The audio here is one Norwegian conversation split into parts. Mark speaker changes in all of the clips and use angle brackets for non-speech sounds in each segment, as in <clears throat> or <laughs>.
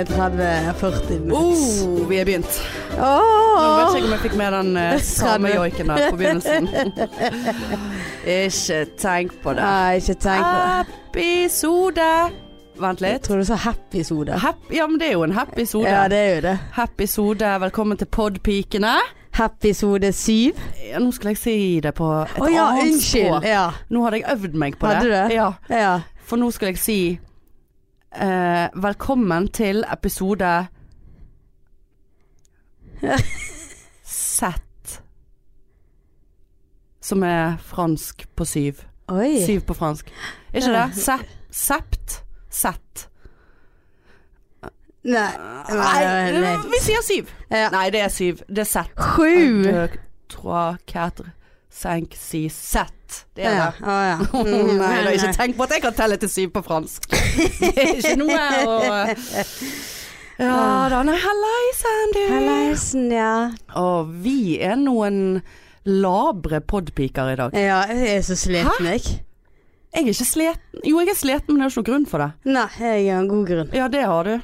Speaker 1: 30-40 minutter.
Speaker 2: Oh, vi er begynt. Nå vet
Speaker 1: Åh.
Speaker 2: ikke om jeg fikk med den eh, samme joiken der på
Speaker 1: <laughs>
Speaker 2: begynnelsen. ikke tenk på det.
Speaker 1: Nei, ikke tenk på det.
Speaker 2: Episode Vent
Speaker 1: Jeg
Speaker 2: litt.
Speaker 1: tror du sa happy sode.
Speaker 2: Happ- ja, men det er jo en happy sode.
Speaker 1: Ja, det er jo det.
Speaker 2: Happy sode, velkommen til Podpikene.
Speaker 1: Happy sode syv.
Speaker 2: Ja, nå skulle jeg si det på et
Speaker 1: Å ja,
Speaker 2: annet
Speaker 1: unnskyld.
Speaker 2: språk.
Speaker 1: Ja.
Speaker 2: Nå hadde jeg øvd meg på
Speaker 1: Hadde du
Speaker 2: det.
Speaker 1: det?
Speaker 2: Ja,
Speaker 1: ja.
Speaker 2: for nå skulle jeg si eh, velkommen til episode Sett. Som er fransk på syv.
Speaker 1: Oi.
Speaker 2: Syv på fransk. Er ikke det? Se sept. Sett.
Speaker 1: Nei. Nei, nei,
Speaker 2: vi sier syv.
Speaker 1: Ja.
Speaker 2: Nei, det er syv. Det er sett.
Speaker 1: Sju.
Speaker 2: Un, deux, trois, quatre, cinq, six, sept. Det er
Speaker 1: Ja.
Speaker 2: det.
Speaker 1: Å ja. Mm,
Speaker 2: <laughs> Nei,
Speaker 1: <laughs> nei,
Speaker 2: det er ikke
Speaker 1: nei.
Speaker 2: tenk på at jeg kan telle til syv på fransk. <laughs> Det er ikke noe å <laughs> Ah. Ja da, nei, hallaisen, du.
Speaker 1: Hallaisen, ja.
Speaker 2: Og vi er noen labre podpiker i dag.
Speaker 1: Ja, jeg er så sliten, jeg.
Speaker 2: Jeg er ikke sliten. Jo, jeg er sliten, men det er ikke noen grunn for det.
Speaker 1: Nei, jeg har en god grunn.
Speaker 2: Ja, det har du.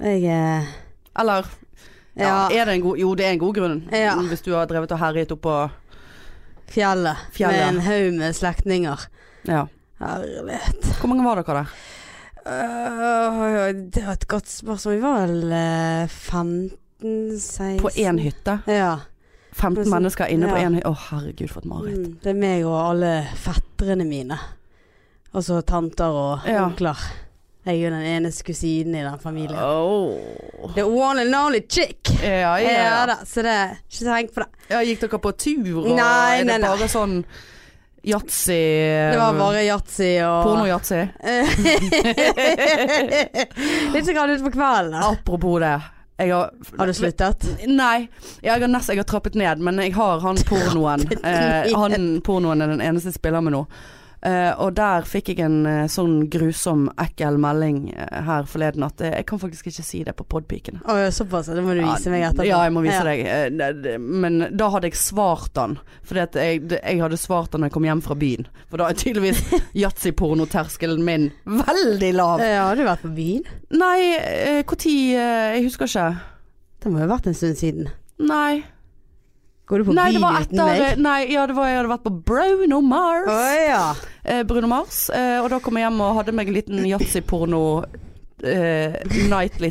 Speaker 1: Jeg er
Speaker 2: Eller ja.
Speaker 1: Ja,
Speaker 2: Er det en god Jo, det er en god grunn.
Speaker 1: Ja.
Speaker 2: Hvis du har drevet og herjet oppå
Speaker 1: fjellet.
Speaker 2: Fjellet.
Speaker 1: Med en haug med slektninger.
Speaker 2: Ja.
Speaker 1: Herre vet.
Speaker 2: Hvor mange var dere der?
Speaker 1: Øh, det var et godt spørsmål. Vi var vel eh, 15, 16
Speaker 2: På én hytte?
Speaker 1: Ja.
Speaker 2: 15
Speaker 1: Hvordan-
Speaker 2: mennesker inne på
Speaker 1: Ja.
Speaker 2: én hytte? Å, herregud, for et mareritt.
Speaker 1: Mm, det er meg og alle fetterne mine. Altså tanter og
Speaker 2: Ja.
Speaker 1: onkler. Jeg er jo den eneste kusinen i den
Speaker 2: Mm.
Speaker 1: familien.
Speaker 2: Åh.
Speaker 1: The one and only chick!
Speaker 2: Ja,
Speaker 1: Ja,
Speaker 2: ja, ja.
Speaker 1: da, så det Ikke tenk på det.
Speaker 2: ja. Gikk dere på tur, og
Speaker 1: Nei,
Speaker 2: er det
Speaker 1: nei, nei.
Speaker 2: bare sånn yatzy eh,
Speaker 1: Det var bare yatzy og
Speaker 2: Porno-yatzy.
Speaker 1: <laughs> Litt så grann utpå kvelden. da.
Speaker 2: Apropos det. Jeg har,
Speaker 1: Har du sluttet?
Speaker 2: Nei. Jeg har, nest, jeg har trappet ned, men jeg har han pornoen. Eh,
Speaker 1: ned.
Speaker 2: han pornoen er den eneste jeg spiller med nå. Eh, og der fikk jeg en eh, sånn grusom, ekkel melding eh, her forleden at eh, jeg kan faktisk ikke si det på podpikene.
Speaker 1: Å, såpass, ja, det må du vise meg etterpå.
Speaker 2: Ja, jeg må vise deg. Eh, det- det- Men da hadde jeg svart han. For jeg, det- jeg hadde svart han når jeg kom hjem fra byen. For da
Speaker 1: <laughs>
Speaker 2: er tydeligvis yatzy-pornoterskelen min veldig lav.
Speaker 1: Ja, har du vært på byen?
Speaker 2: Nei, eh, når? jeg husker ikke.
Speaker 1: Det må jo ha vært en stund siden.
Speaker 2: Nei.
Speaker 1: Går du på
Speaker 2: Nei, det
Speaker 1: byen
Speaker 2: var
Speaker 1: uten meg?
Speaker 2: etter Nei, ja, det var, jeg hadde vært på Bruno Mars.
Speaker 1: Å ja.
Speaker 2: Eh, Bruno Mars. Eh, og da kom jeg hjem og hadde meg en liten yatzy-porno eh, nightly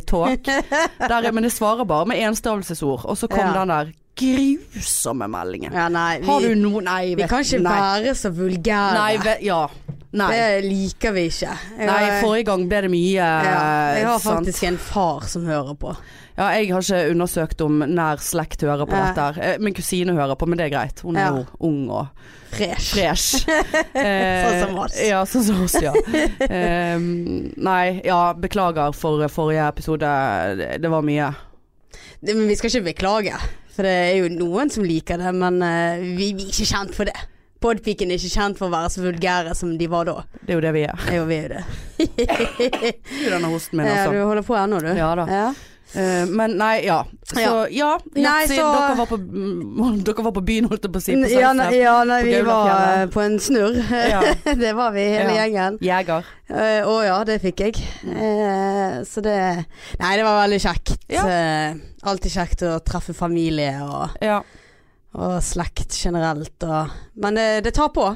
Speaker 1: <laughs>
Speaker 2: talk. Der, men jeg svarer bare med enstavelsesord. Og så kom
Speaker 1: Ja.
Speaker 2: den der grusomme meldingen.
Speaker 1: ja. Nei, vi,
Speaker 2: Har du noe Nei,
Speaker 1: vi
Speaker 2: vet
Speaker 1: kan ikke
Speaker 2: nei.
Speaker 1: være så vulgære.
Speaker 2: Nei, ve ja. Nei.
Speaker 1: Det liker vi ikke. Jeg,
Speaker 2: Nei, forrige gang ble det mye
Speaker 1: ja, jeg har
Speaker 2: sant.
Speaker 1: faktisk en far som hører på.
Speaker 2: Ja, jeg har ikke undersøkt om nær slekt hører på
Speaker 1: Ja.
Speaker 2: dette. her. Eh, Min kusine hører på, men det er greit. Hun er
Speaker 1: Ja.
Speaker 2: jo ung og
Speaker 1: Fresh.
Speaker 2: fresh.
Speaker 1: <laughs>
Speaker 2: Eh,
Speaker 1: Sånn som oss.
Speaker 2: Ja, sånn som oss,
Speaker 1: <laughs>
Speaker 2: ja. Eh, nei, ja, beklager for forrige episode. Det- Det var mye.
Speaker 1: Det- Men vi skal ikke beklage, for det er jo noen som liker det, men eh, vi, vi er ikke kjent for det. Podpiken er ikke kjent for å være så vulgære som de var da.
Speaker 2: Det er jo det vi er.
Speaker 1: Jo, vi er jo det.
Speaker 2: Det er jo Denne hosten min,
Speaker 1: ja, du
Speaker 2: altså.
Speaker 1: holder på ennå, du.
Speaker 2: Ja da.
Speaker 1: Ja.
Speaker 2: Eh, men nei, ja.
Speaker 1: Ja.
Speaker 2: Så ja,
Speaker 1: Nei,
Speaker 2: Yatzy,
Speaker 1: så-
Speaker 2: dere, var på, mm, dere var på <laughs> byen, holdt jeg på å si. På
Speaker 1: Ja, nei,
Speaker 2: Sandstrand.
Speaker 1: ja, nei
Speaker 2: på
Speaker 1: vi var
Speaker 2: Gaulafjellet.
Speaker 1: eh, på en snurr.
Speaker 2: Ja.
Speaker 1: <laughs> det var vi, hele
Speaker 2: Ja.
Speaker 1: gjengen.
Speaker 2: Jeger.
Speaker 1: Eh, Å ja, det fikk jeg. Eh, så det Nei, det var veldig kjekt.
Speaker 2: Ja.
Speaker 1: Eh, alltid kjekt å treffe familie og,
Speaker 2: Ja.
Speaker 1: og slekt generelt. Og, men det, det tar på.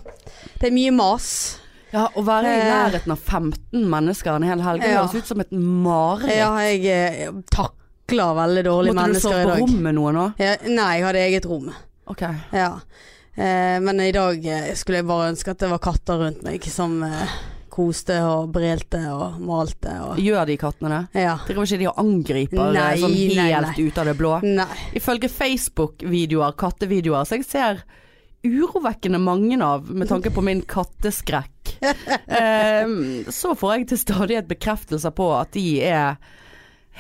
Speaker 1: Det er mye mas.
Speaker 2: ja. Å være i
Speaker 1: Eh.
Speaker 2: nærheten av 15 mennesker en hel helg, det
Speaker 1: Ja.
Speaker 2: høres ut som et mareritt.
Speaker 1: Ja, jeg eh, takler veldig dårlig
Speaker 2: Måtte du
Speaker 1: mennesker
Speaker 2: sove
Speaker 1: i
Speaker 2: på
Speaker 1: dag.
Speaker 2: rommet noe nå?
Speaker 1: Ja, nei, jeg hadde eget rom.
Speaker 2: Ok.
Speaker 1: Ja. Eh, men i dag eh, skulle jeg bare ønske at det var katter rundt meg som eh, koste og brelte og malte og
Speaker 2: Gjør de kattene det?
Speaker 1: Ja.
Speaker 2: Driver ikke de og angriper
Speaker 1: Nei,
Speaker 2: sånn helt
Speaker 1: nei,
Speaker 2: ut av det blå?
Speaker 1: Nei.
Speaker 2: Ifølge Facebook-videoer, kattevideoer, så jeg ser urovekkende mange av, med tanke på min <laughs> katteskrekk, Ehm, så får jeg til stadighet bekreftelser på at de er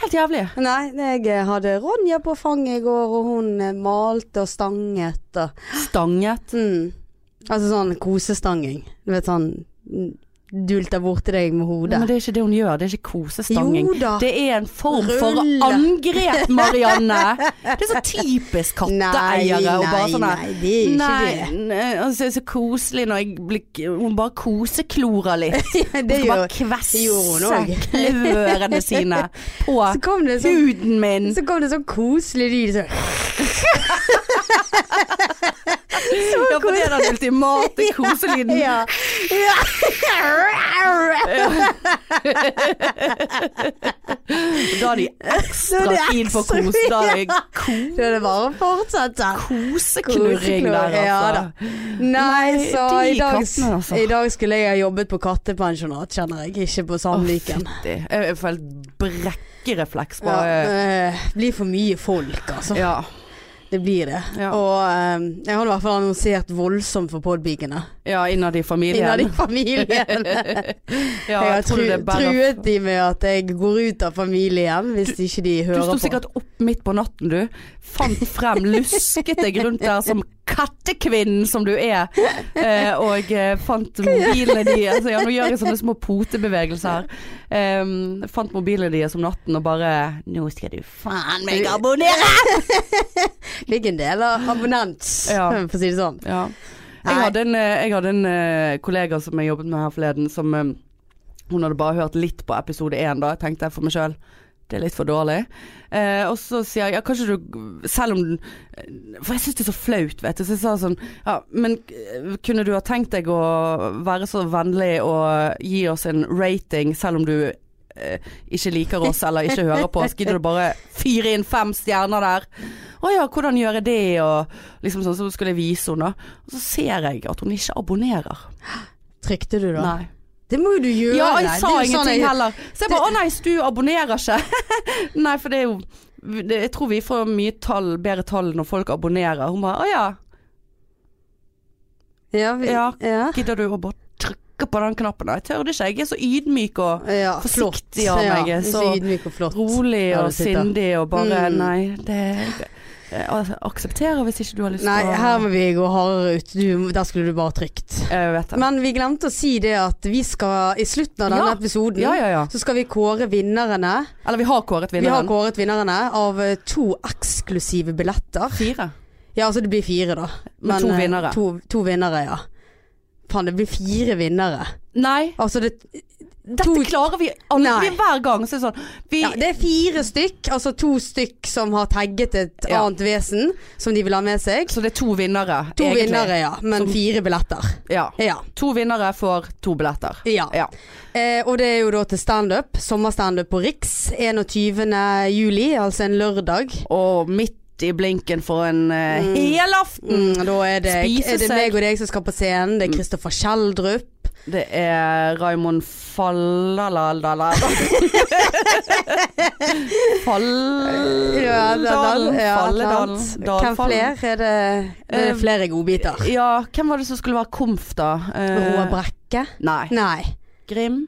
Speaker 2: helt jævlige.
Speaker 1: Nei, jeg eh, hadde Ronja på fanget i går, og hun eh, malte og stanget og hmm,
Speaker 2: Stanget.
Speaker 1: mm. Altså sånn kosestanging. Du vet sånn mm, dulter borti deg med hodet.
Speaker 2: Men det er ikke det hun gjør, det er ikke kosestanging.
Speaker 1: Jo da.
Speaker 2: Det er en form for
Speaker 1: Rulle.
Speaker 2: angrep,
Speaker 1: <laughs>
Speaker 2: Marianne. Det er så typisk katteeiere å bare sånn her
Speaker 1: nei, det er jo
Speaker 2: Nei,
Speaker 1: ikke
Speaker 2: nei, altså, det er så koselig når jeg blir Hun bare koseklorer litt.
Speaker 1: <laughs> det.
Speaker 2: Hun
Speaker 1: det
Speaker 2: skal
Speaker 1: er jo,
Speaker 2: bare
Speaker 1: gjorde
Speaker 2: kvesse
Speaker 1: hun også.
Speaker 2: klørne sine på
Speaker 1: <laughs> så kom det sånn
Speaker 2: huden min.
Speaker 1: så kom det sånn koselig lyd sånn.
Speaker 2: Ja, for det er den ultimate koselyden.
Speaker 1: <laughs> Ja. ja. <laughs> <laughs>
Speaker 2: Da har de ekstra tid på
Speaker 1: ekstra-
Speaker 2: kos.
Speaker 1: <laughs>
Speaker 2: Da
Speaker 1: Så
Speaker 2: er det
Speaker 1: er det bare å fortsette.
Speaker 2: koseknurring der, altså.
Speaker 1: Ja da. Nei,
Speaker 2: Nei,
Speaker 1: så
Speaker 2: de
Speaker 1: i dag,
Speaker 2: kattene, altså.
Speaker 1: i dag skulle jeg ha jobbet på kattepensjonat, kjenner jeg. Ikke på Sandviken.
Speaker 2: Fytti. Jeg jeg får helt brekkerefleks på
Speaker 1: Ja,
Speaker 2: ja.
Speaker 1: eh, det blir for mye folk, altså.
Speaker 2: ja.
Speaker 1: Det blir det.
Speaker 2: Ja.
Speaker 1: Og eh, jeg har i hvert fall annonsert voldsomt for podpikene.
Speaker 2: ja, innad i familien.
Speaker 1: Innad i
Speaker 2: <laughs>
Speaker 1: familien.
Speaker 2: ja,
Speaker 1: jeg har
Speaker 2: tror
Speaker 1: tru,
Speaker 2: det er bare-
Speaker 1: truet de med at jeg går ut av familien hvis ikke de
Speaker 2: Du
Speaker 1: hører
Speaker 2: sto
Speaker 1: på.
Speaker 2: sikkert opp midt på natten, du. Fant frem, lusket deg rundt der som kattekvinnen som du er. Eh, og eh, fant mobilene deres. Altså, ja, nå gjør jeg sånne små potebevegelser. Eh, fant mobilene deres om natten og bare Nå skal du faen meg abonnere!
Speaker 1: <laughs> Ligger en del av abonnent,
Speaker 2: Ja.
Speaker 1: <laughs> for å si det sånn.
Speaker 2: Ja. Jeg
Speaker 1: Nei.
Speaker 2: hadde en, eh, jeg hadde en eh, kollega som jeg jobbet med her forleden, som eh, hun hadde bare hørt litt på episode én da. Jeg tenkte for meg sjøl det er litt for dårlig. Eh, og så sier jeg ja, kanskje du Selv om den- For jeg syns det er så flaut, vet du. Så jeg sa sånn Ja, men eh, kunne du ha tenkt deg å være så vennlig og gi oss en rating, selv om du eh, ikke liker oss eller ikke hører på oss? Gidder du bare fyre inn fem stjerner der? Å ja, hvordan gjør jeg det? Og liksom sånn, så skulle jeg vise henne. da. Og så ser jeg at hun ikke abonnerer.
Speaker 1: Trykte du da?
Speaker 2: Nei.
Speaker 1: Det må jo du gjøre.
Speaker 2: Ja, jeg
Speaker 1: Det er jo
Speaker 2: sa
Speaker 1: sånn
Speaker 2: ingenting
Speaker 1: jeg-
Speaker 2: heller. Så jeg bare å nei, du abonnerer ikke. <laughs> nei, for det er jo det, Jeg tror vi får mye tall, bedre tall når folk abonnerer. Hun bare å ja,
Speaker 1: Ja, vi,
Speaker 2: Ja.
Speaker 1: ja. ja.
Speaker 2: gidder du å bare trykke på den knappen? Nei, jeg tør det ikke. Jeg er så ydmyk og Forsiktig av meg,
Speaker 1: Ja,
Speaker 2: så
Speaker 1: ydmyk og flott.
Speaker 2: rolig
Speaker 1: Ja,
Speaker 2: og
Speaker 1: du sitter.
Speaker 2: sindig og bare
Speaker 1: Mm.
Speaker 2: nei, det jeg aksepterer hvis ikke du har lyst
Speaker 1: Nei,
Speaker 2: til å
Speaker 1: her må vi gå hardere ut. Du, der skulle du bare trykt.
Speaker 2: Jeg vet det.
Speaker 1: Men vi glemte å si det at vi skal i slutten av denne
Speaker 2: Ja.
Speaker 1: episoden
Speaker 2: Ja, ja, ja.
Speaker 1: Så skal vi kåre vinnerne.
Speaker 2: Eller vi har kåret
Speaker 1: Vi har
Speaker 2: vinneren.
Speaker 1: kåret vinnerne av eh, to eksklusive billetter.
Speaker 2: Fire.
Speaker 1: Ja, altså det blir fire, da.
Speaker 2: Men to
Speaker 1: eh,
Speaker 2: vinnere.
Speaker 1: To, to vinnere, ja. Faen, det blir fire vinnere.
Speaker 2: Nei,
Speaker 1: Altså det
Speaker 2: dette
Speaker 1: To-
Speaker 2: klarer vi aldri.
Speaker 1: Nei.
Speaker 2: Vi- Hver gang så er det sånn vi,
Speaker 1: Ja, det er fire stykk, altså to stykk som har tagget et
Speaker 2: Ja.
Speaker 1: annet vesen som de vil ha med seg.
Speaker 2: Så det er to vinnere,
Speaker 1: To
Speaker 2: egentlig.
Speaker 1: vinnere, ja. Men
Speaker 2: Som-
Speaker 1: fire billetter.
Speaker 2: Ja.
Speaker 1: Ja.
Speaker 2: To vinnere får to billetter.
Speaker 1: ja.
Speaker 2: Ja.
Speaker 1: Eh, og det er jo da til standup. Sommerstandup på Riks 21. juli, altså en lørdag.
Speaker 2: Og midt i blinken for en eh, helaften.
Speaker 1: Mm, da er det,
Speaker 2: Spise
Speaker 1: er det
Speaker 2: seg. Mm.
Speaker 1: meg og deg som skal på scenen. Det er Kristoffer Schjelderup.
Speaker 2: Det er
Speaker 1: <laughs>
Speaker 2: Raymond Fallalala
Speaker 1: Ja, da- da-
Speaker 2: Falledalen.
Speaker 1: ja,
Speaker 2: Falledalen.
Speaker 1: sant. Hvem
Speaker 2: Dalfallen.
Speaker 1: flere? Er det, er
Speaker 2: Eh,
Speaker 1: det flere godbiter?
Speaker 2: Ja, hvem var det som skulle være komf, da? Eh,
Speaker 1: Roar Brekke?
Speaker 2: Nei.
Speaker 1: Nei.
Speaker 2: Grim?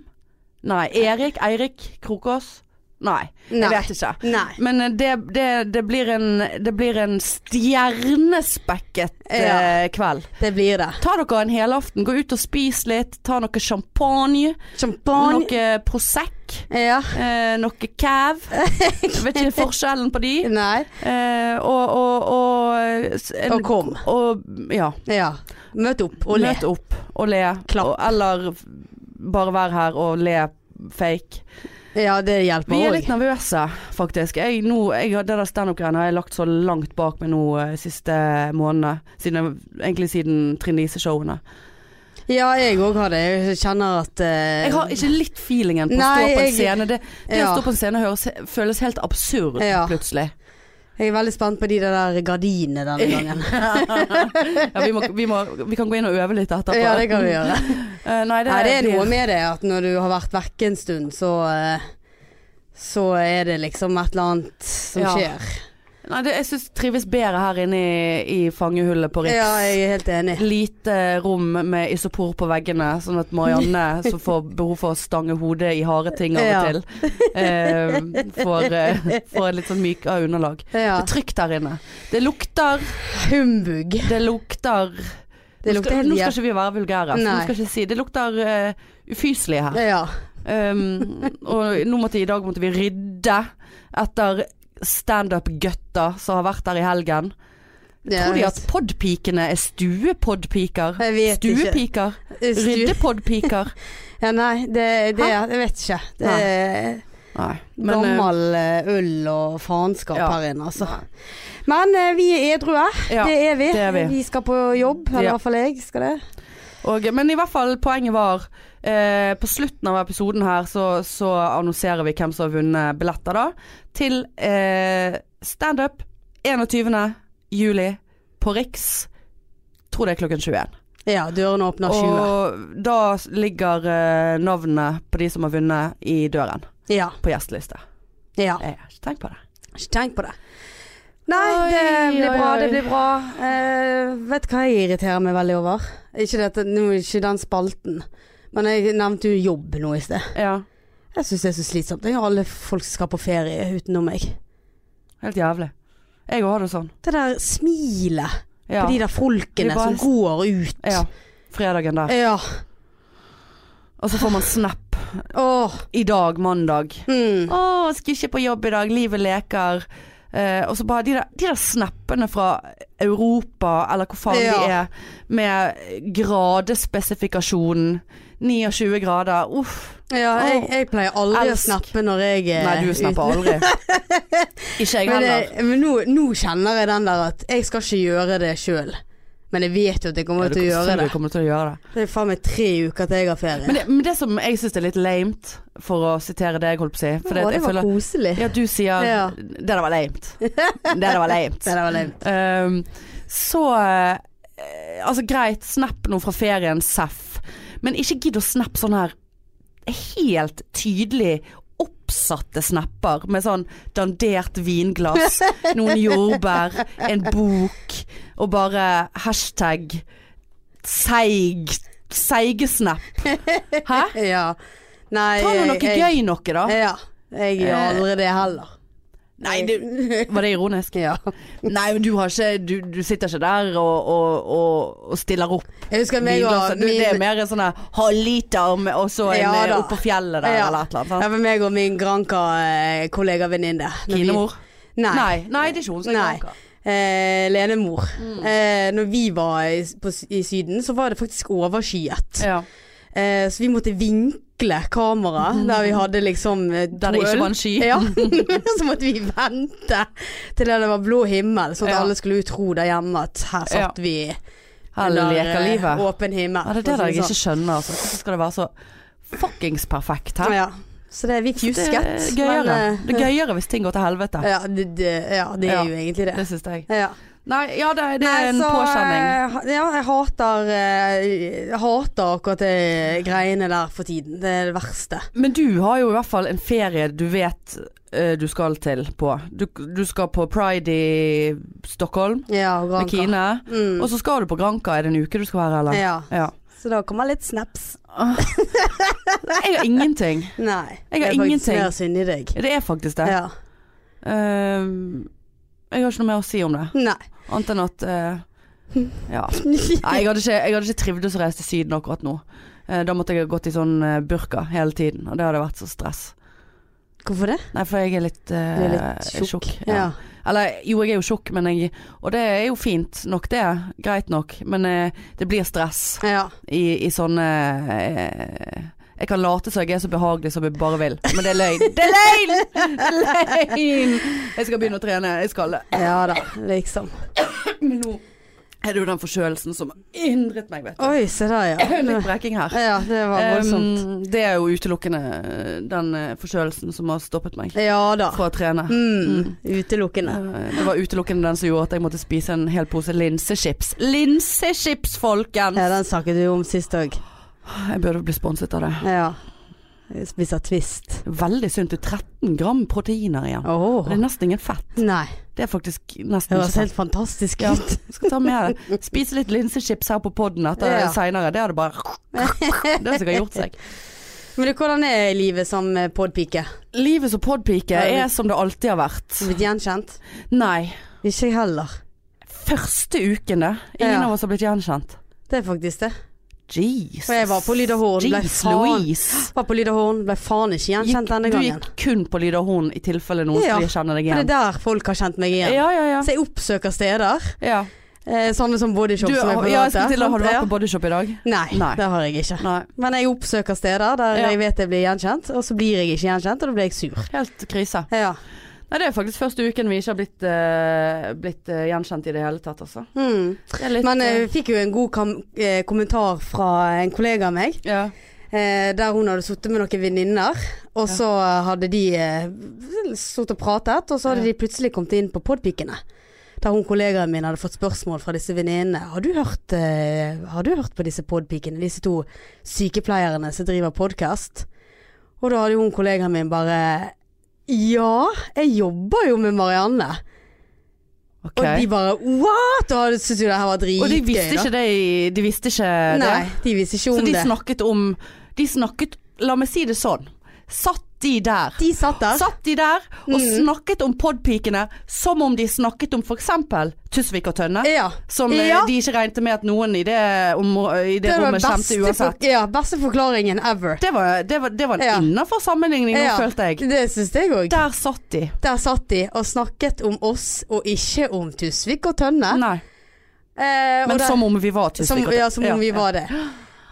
Speaker 2: Nei. Erik? Eirik Krokås? Nei.
Speaker 1: Nei.
Speaker 2: Jeg vet ikke.
Speaker 1: Nei.
Speaker 2: Men eh, det, det, det, blir en, det blir en stjernespekket eh, kveld.
Speaker 1: Det blir det.
Speaker 2: Ta dere en helaften, gå ut og spis litt, ta noe champagne,
Speaker 1: Champagne.
Speaker 2: noe Prosecco,
Speaker 1: Ja.
Speaker 2: eh, noe
Speaker 1: <laughs>
Speaker 2: Cav. Jeg vet ikke forskjellen på de.
Speaker 1: Nei.
Speaker 2: Eh, og, og, og, s- en,
Speaker 1: Og kom.
Speaker 2: Og, ja.
Speaker 1: Ja. Møt opp og le.
Speaker 2: Møt opp og le.
Speaker 1: Klapp.
Speaker 2: Og, eller f- bare vær her og le fake.
Speaker 1: Ja, det hjelper
Speaker 2: Vi er
Speaker 1: òg.
Speaker 2: litt nervøse, faktisk. Jeg, nå, jeg, har- det der standup-greiene har jeg lagt så langt bak meg nå eh, siste månedene. Siden, egentlig siden Trine Lise-showene.
Speaker 1: Ja, jeg òg har det. Jeg kjenner at eh,
Speaker 2: Jeg har ikke litt feelingen på å
Speaker 1: Nei,
Speaker 2: stå på en
Speaker 1: jeg-
Speaker 2: scene. Det, det
Speaker 1: Ja.
Speaker 2: å stå på en scene høres, føles helt absurd
Speaker 1: Ja.
Speaker 2: plutselig.
Speaker 1: Jeg er veldig spent på de der gardinene
Speaker 2: <laughs>
Speaker 1: denne gangen.
Speaker 2: Ja, vi, må, vi, må, vi kan gå inn og øve litt etterpå.
Speaker 1: ja, det kan vi gjøre.
Speaker 2: Eh, nei,
Speaker 1: <laughs>
Speaker 2: det,
Speaker 1: Nei, det er
Speaker 2: blir-
Speaker 1: noe med det at når du har vært vekke en stund, så eh, Så er det liksom et eller annet som
Speaker 2: Ja.
Speaker 1: skjer.
Speaker 2: Nei, det, jeg syns trives bedre her inne i, i fangehullet på Riks.
Speaker 1: Ja, jeg er helt enig.
Speaker 2: Lite rom med isopor på veggene, sånn at Marianne, som får behov for å stange hodet i harde ting av
Speaker 1: Ja.
Speaker 2: og til, eh, får, eh, får et litt sånn mykere underlag.
Speaker 1: Ja.
Speaker 2: Det er trygt der inne. Det lukter,
Speaker 1: Humbug.
Speaker 2: det lukter
Speaker 1: Det
Speaker 2: Nå
Speaker 1: lukter
Speaker 2: skal,
Speaker 1: helt
Speaker 2: nå skal
Speaker 1: jævlig.
Speaker 2: ikke vi være vulgære, så nå
Speaker 1: Nei.
Speaker 2: skal jeg ikke si Det lukter eh, ufyselig her.
Speaker 1: Ja. <laughs>
Speaker 2: Um, og nå måtte i dag måtte vi rydde etter standup-gutta som har vært der i helgen.
Speaker 1: Det
Speaker 2: Tror de at podpikene er stuepodpiker?
Speaker 1: Jeg vet ikke.
Speaker 2: Stuepiker?
Speaker 1: <laughs>
Speaker 2: Ryddepodpiker?
Speaker 1: Ja, nei, det, det
Speaker 2: Hæ?
Speaker 1: Jeg vet ikke. Det er
Speaker 2: Nei. Men, eh,
Speaker 1: gammel eh, ull og faenskap
Speaker 2: Ja.
Speaker 1: her inne, altså. Men eh, vi er edru her.
Speaker 2: ja.
Speaker 1: det er vi.
Speaker 2: det er vi.
Speaker 1: skal på jobb, eller i
Speaker 2: Ja.
Speaker 1: hvert fall jeg skal det.
Speaker 2: Og, men i hvert fall, poenget var eh, På slutten av episoden her så, så annonserer vi hvem som har vunnet billetter da Til eh, stand-up 21. juli på Riks Tror det er klokken 21
Speaker 1: Ja, dørene åpner 20.
Speaker 2: Og da ligger eh, navnene på de som har vunnet i døren
Speaker 1: Ja.
Speaker 2: På gjesteliste
Speaker 1: ja.
Speaker 2: Jeg har ikke tenkt på det
Speaker 1: Ikke tenk på det. Nei,
Speaker 2: Oi,
Speaker 1: det blir
Speaker 2: oi,
Speaker 1: bra,
Speaker 2: oi.
Speaker 1: det blir bra. Eh, vet du hva jeg irriterer meg veldig over? Ikke, dette, nå, ikke den spalten, men jeg nevnte jo jobb nå i sted.
Speaker 2: Ja,
Speaker 1: Jeg syns det er så slitsomt. Det er jo alle folk som skal på ferie utenom meg.
Speaker 2: helt jævlig Jeg også har det sånn
Speaker 1: Det der smilet
Speaker 2: ja.
Speaker 1: på de der folkene
Speaker 2: Vi bare-
Speaker 1: som går ut.
Speaker 2: ja, fredagen der
Speaker 1: Ja. Eh.
Speaker 2: Og så får man snap
Speaker 1: Åh.
Speaker 2: I dag, mandag
Speaker 1: Mm.
Speaker 2: Å, jeg skal ikke på jobb i dag, livet leker. Eh, og så bare de der, de der snappene fra Europa, eller hvor faen de
Speaker 1: Ja.
Speaker 2: er, med gradespesifikasjonen. 29 grader, uff.
Speaker 1: Ja, jeg, jeg pleier aldri å
Speaker 2: Elsk.
Speaker 1: snappe når jeg eh, er
Speaker 2: Nei, du snapper aldri. Eh, <laughs> Ikke jeg
Speaker 1: Men,
Speaker 2: heller.
Speaker 1: det, men nå, nå kjenner jeg den der at jeg skal ikke gjøre det sjøl. Men jeg vet jo at jeg kommer
Speaker 2: Ja, du
Speaker 1: til å gjøre
Speaker 2: sier
Speaker 1: det.
Speaker 2: Du kommer til å gjøre det.
Speaker 1: Det er faen meg tre uker til jeg har ferie.
Speaker 2: Men det, men det som jeg syns er litt lamet, for å sitere deg, holdt på å si For det,
Speaker 1: Å, det
Speaker 2: jeg
Speaker 1: var
Speaker 2: føler
Speaker 1: koselig.
Speaker 2: Ja, du sier
Speaker 1: Ja.
Speaker 2: 'Det der var lamet'. Det der var lamet. <laughs>
Speaker 1: Det der var lame.
Speaker 2: Ehm, så eh, Altså greit, snap noe fra ferien, seff. Men ikke gidd å snappe sånn her helt tydelig oppsatte snapper med sånn dandert vinglass, noen jordbær, en bok og bare hashtag seig seigesnap. Hæ?
Speaker 1: Ja. Nei,
Speaker 2: Ta nå noe
Speaker 1: jeg,
Speaker 2: gøy noe, da. Eh,
Speaker 1: Ja. Jeg gjør aldri det heller.
Speaker 2: Nei, du Var det ironisk?
Speaker 1: Ja.
Speaker 2: Nei, men du har ikke Du, du sitter ikke der og, og, og, og stiller opp.
Speaker 1: Jeg husker meg
Speaker 2: Vinglasset,
Speaker 1: og
Speaker 2: du, det er
Speaker 1: min,
Speaker 2: mer en sånn her halv liter med- og så en
Speaker 1: Ja
Speaker 2: eh,
Speaker 1: da.
Speaker 2: opp på fjellet der,
Speaker 1: Ja.
Speaker 2: eller et eller annet.
Speaker 1: ja,
Speaker 2: sant?
Speaker 1: men meg og min Granka-kollegavenninne.
Speaker 2: Kinemor?
Speaker 1: Nei.
Speaker 2: Nei. Nei, Mm. det er ikke hun som er
Speaker 1: Nei.
Speaker 2: kranka.
Speaker 1: Eh, Lenemor. Eh, når vi var i, på, i Syden, så var det faktisk overskyet.
Speaker 2: Ja.
Speaker 1: Eh, så vi måtte vinkle kameraet der vi hadde liksom eh, to
Speaker 2: Mm. Der det ikke
Speaker 1: øl.
Speaker 2: var en sky. <laughs>
Speaker 1: Ja, <laughs> så måtte vi vente til det var blå himmel, sånn at
Speaker 2: Ja.
Speaker 1: alle skulle jo tro der hjemme at her satt vi
Speaker 2: Eller leker
Speaker 1: eh,
Speaker 2: livet.
Speaker 1: åpen himmel.
Speaker 2: Ja, det er
Speaker 1: for å si sånn.
Speaker 2: det der jeg ikke skjønner. Altså. Hvorfor skal det være så fuckings perfekt
Speaker 1: sånn.
Speaker 2: her?
Speaker 1: Ja. Så det, vi
Speaker 2: Det
Speaker 1: fjusket.
Speaker 2: er gøyere.
Speaker 1: men, eh,
Speaker 2: Det er gøyere hvis ting går til helvete.
Speaker 1: Ja, det, det, ja, det er
Speaker 2: Ja.
Speaker 1: jo egentlig det.
Speaker 2: Det syns jeg.
Speaker 1: Ja.
Speaker 2: Nei, ja det, det er en
Speaker 1: Nei, så,
Speaker 2: påkjenning.
Speaker 1: eh, ha- Ja, jeg hater eh, jeg Hater akkurat det greiene der for tiden. Det er det verste.
Speaker 2: Men du har jo i hvert fall en ferie du vet eh, du skal til på. Du, du skal på pride i Stockholm
Speaker 1: Ja, og Granca.
Speaker 2: med Kine.
Speaker 1: Mm.
Speaker 2: Og så skal du på Granka. Er det en uke du skal være, eller?
Speaker 1: Ja.
Speaker 2: ja.
Speaker 1: Så da kommer litt snaps.
Speaker 2: Jeg har ingenting.
Speaker 1: Nei.
Speaker 2: Jeg har
Speaker 1: det er faktisk
Speaker 2: ingenting.
Speaker 1: mer synd i deg.
Speaker 2: Det er faktisk det.
Speaker 1: Ja.
Speaker 2: Ehm, jeg har ikke noe mer å si om det.
Speaker 1: Nei.
Speaker 2: Annet enn at eh, Ja. Nei, jeg hadde ikke, jeg hadde ikke trivdes å reise til Syden akkurat nå. Eh, da måtte jeg ha gått i sånn eh, burka hele tiden, og det hadde vært så stress.
Speaker 1: Hvorfor det?
Speaker 2: Nei, for jeg er litt, eh,
Speaker 1: Du er litt tjukk.
Speaker 2: Ja.
Speaker 1: Ja.
Speaker 2: Eller jo, jeg er jo tjukk, men jeg Og det er jo fint nok, det. Greit nok. Men eh, det blir stress
Speaker 1: Ja.
Speaker 2: i, i sånne eh, Jeg kan late som jeg er så behagelig som jeg bare vil, men det er løgn. Det er løgn! Det er løgn! Jeg skal begynne å trene. Jeg skal det.
Speaker 1: ja da, liksom.
Speaker 2: Men nå er det jo den forkjølelsen som har hindret meg, vet du.
Speaker 1: Oi, se der, ja.
Speaker 2: Litt breking her.
Speaker 1: Ja, det var voldsomt.
Speaker 2: Um, det er jo utelukkende eh, den eh, forkjølelsen som har stoppet meg
Speaker 1: Ja da.
Speaker 2: fra å trene.
Speaker 1: Mm. Utelukkende.
Speaker 2: Eh, Det var utelukkende den som gjorde at jeg måtte spise en hel pose linsechips. Linsechips, folkens!
Speaker 1: Ja, den snakket du om sist òg.
Speaker 2: Jeg burde bli sponset av det.
Speaker 1: Ja. Jeg spiser Twist.
Speaker 2: Veldig sunt. Det er 13 gram proteiner igjen.
Speaker 1: Åh
Speaker 2: Det er nesten ingen fett.
Speaker 1: Nei.
Speaker 2: Det er faktisk nesten
Speaker 1: Høres
Speaker 2: ikke
Speaker 1: helt fantastisk
Speaker 2: Ja.
Speaker 1: <laughs> ut.
Speaker 2: fett. Skal ta med Spise litt linsechips her på poden
Speaker 1: Ja.
Speaker 2: seinere. Det hadde bare Det har sikkert gjort seg.
Speaker 1: Men du, hvordan er livet som eh, podpike?
Speaker 2: <laughs> Livet som podpike
Speaker 1: Ja, det- Mm.
Speaker 2: er som det alltid har vært.
Speaker 1: Blitt gjenkjent?
Speaker 2: Nei.
Speaker 1: Ikke jeg heller.
Speaker 2: Første uken, det. Ingen
Speaker 1: Ja.
Speaker 2: av oss har blitt gjenkjent.
Speaker 1: Det er faktisk det.
Speaker 2: Jesus.
Speaker 1: For jeg var på Lyd og Horn, ble
Speaker 2: Jeez
Speaker 1: faen-
Speaker 2: Louise.
Speaker 1: Var på Lyd og Horn, ble faen ikke gjenkjent denne
Speaker 2: du
Speaker 1: gangen.
Speaker 2: gikk kun på lyd og horn i tilfelle noen
Speaker 1: Ja,
Speaker 2: skulle kjenne deg
Speaker 1: For det
Speaker 2: igjen.
Speaker 1: er der folk har kjent meg igjen.
Speaker 2: Ja, ja, ja.
Speaker 1: Så jeg oppsøker steder.
Speaker 2: ja.
Speaker 1: Eh, sånne som
Speaker 2: Du,
Speaker 1: bodyshop som jeg
Speaker 2: ja, jeg skulle til å Har du vært
Speaker 1: Ja.
Speaker 2: på bodyshop i dag?
Speaker 1: Nei,
Speaker 2: Nei.
Speaker 1: det har jeg ikke.
Speaker 2: Nei.
Speaker 1: Men jeg oppsøker steder der
Speaker 2: Ja.
Speaker 1: jeg vet jeg blir gjenkjent, og så blir jeg ikke gjenkjent, og da blir jeg sur.
Speaker 2: Helt krise.
Speaker 1: Ja.
Speaker 2: Nei, det er faktisk første uken vi ikke har blitt, eh, blitt eh, gjenkjent i det hele tatt, altså.
Speaker 1: Hmm.
Speaker 2: Det er litt,
Speaker 1: Men eh,
Speaker 2: eh,
Speaker 1: vi fikk jo en god kam eh, kommentar fra en kollega av meg,
Speaker 2: ja.
Speaker 1: eh, der hun hadde sittet med noen venninner, og så hadde de eh, sittet og pratet, og så hadde
Speaker 2: Ja.
Speaker 1: de plutselig kommet inn på podpikene. Der hun kollegaen min hadde fått spørsmål fra disse venninnene. Har, du hørt, eh, har du hørt på disse podpikene? Disse to sykepleierne som driver podkast? Og da hadde jo hun kollegaen min bare Ja, jeg jobber jo med Marianne.
Speaker 2: Ok.
Speaker 1: Og de bare What?! Og syntes jo det her var dritgøy.
Speaker 2: Og de
Speaker 1: da.
Speaker 2: visste ikke det i- De visste ikke
Speaker 1: Nei,
Speaker 2: det.
Speaker 1: de visste ikke
Speaker 2: Så
Speaker 1: om
Speaker 2: de
Speaker 1: det.
Speaker 2: snakket om De snakket La meg si det sånn. Satt de der?
Speaker 1: De satt der.
Speaker 2: Satt de der og
Speaker 1: Mm.
Speaker 2: snakket om podpikene som om de snakket om f.eks. Tusvik og Tønne?
Speaker 1: Ja.
Speaker 2: Som eh,
Speaker 1: Ja.
Speaker 2: de ikke regnet med at noen i det, områ- i det,
Speaker 1: var
Speaker 2: rommet kjente uansett.
Speaker 1: for, ja, beste forklaringen ever.
Speaker 2: Det var, det var, det var
Speaker 1: Ja.
Speaker 2: innafor sammenligning, nå,
Speaker 1: Ja. Mm.
Speaker 2: følte jeg.
Speaker 1: Det syns jeg òg.
Speaker 2: Der satt de.
Speaker 1: Der satt de og snakket om oss, og ikke om Tusvik og Tønne.
Speaker 2: Nei.
Speaker 1: Eh, og
Speaker 2: Men
Speaker 1: det-
Speaker 2: som om vi var Tusvik
Speaker 1: som,
Speaker 2: og Tønne.
Speaker 1: ja, som om vi var det.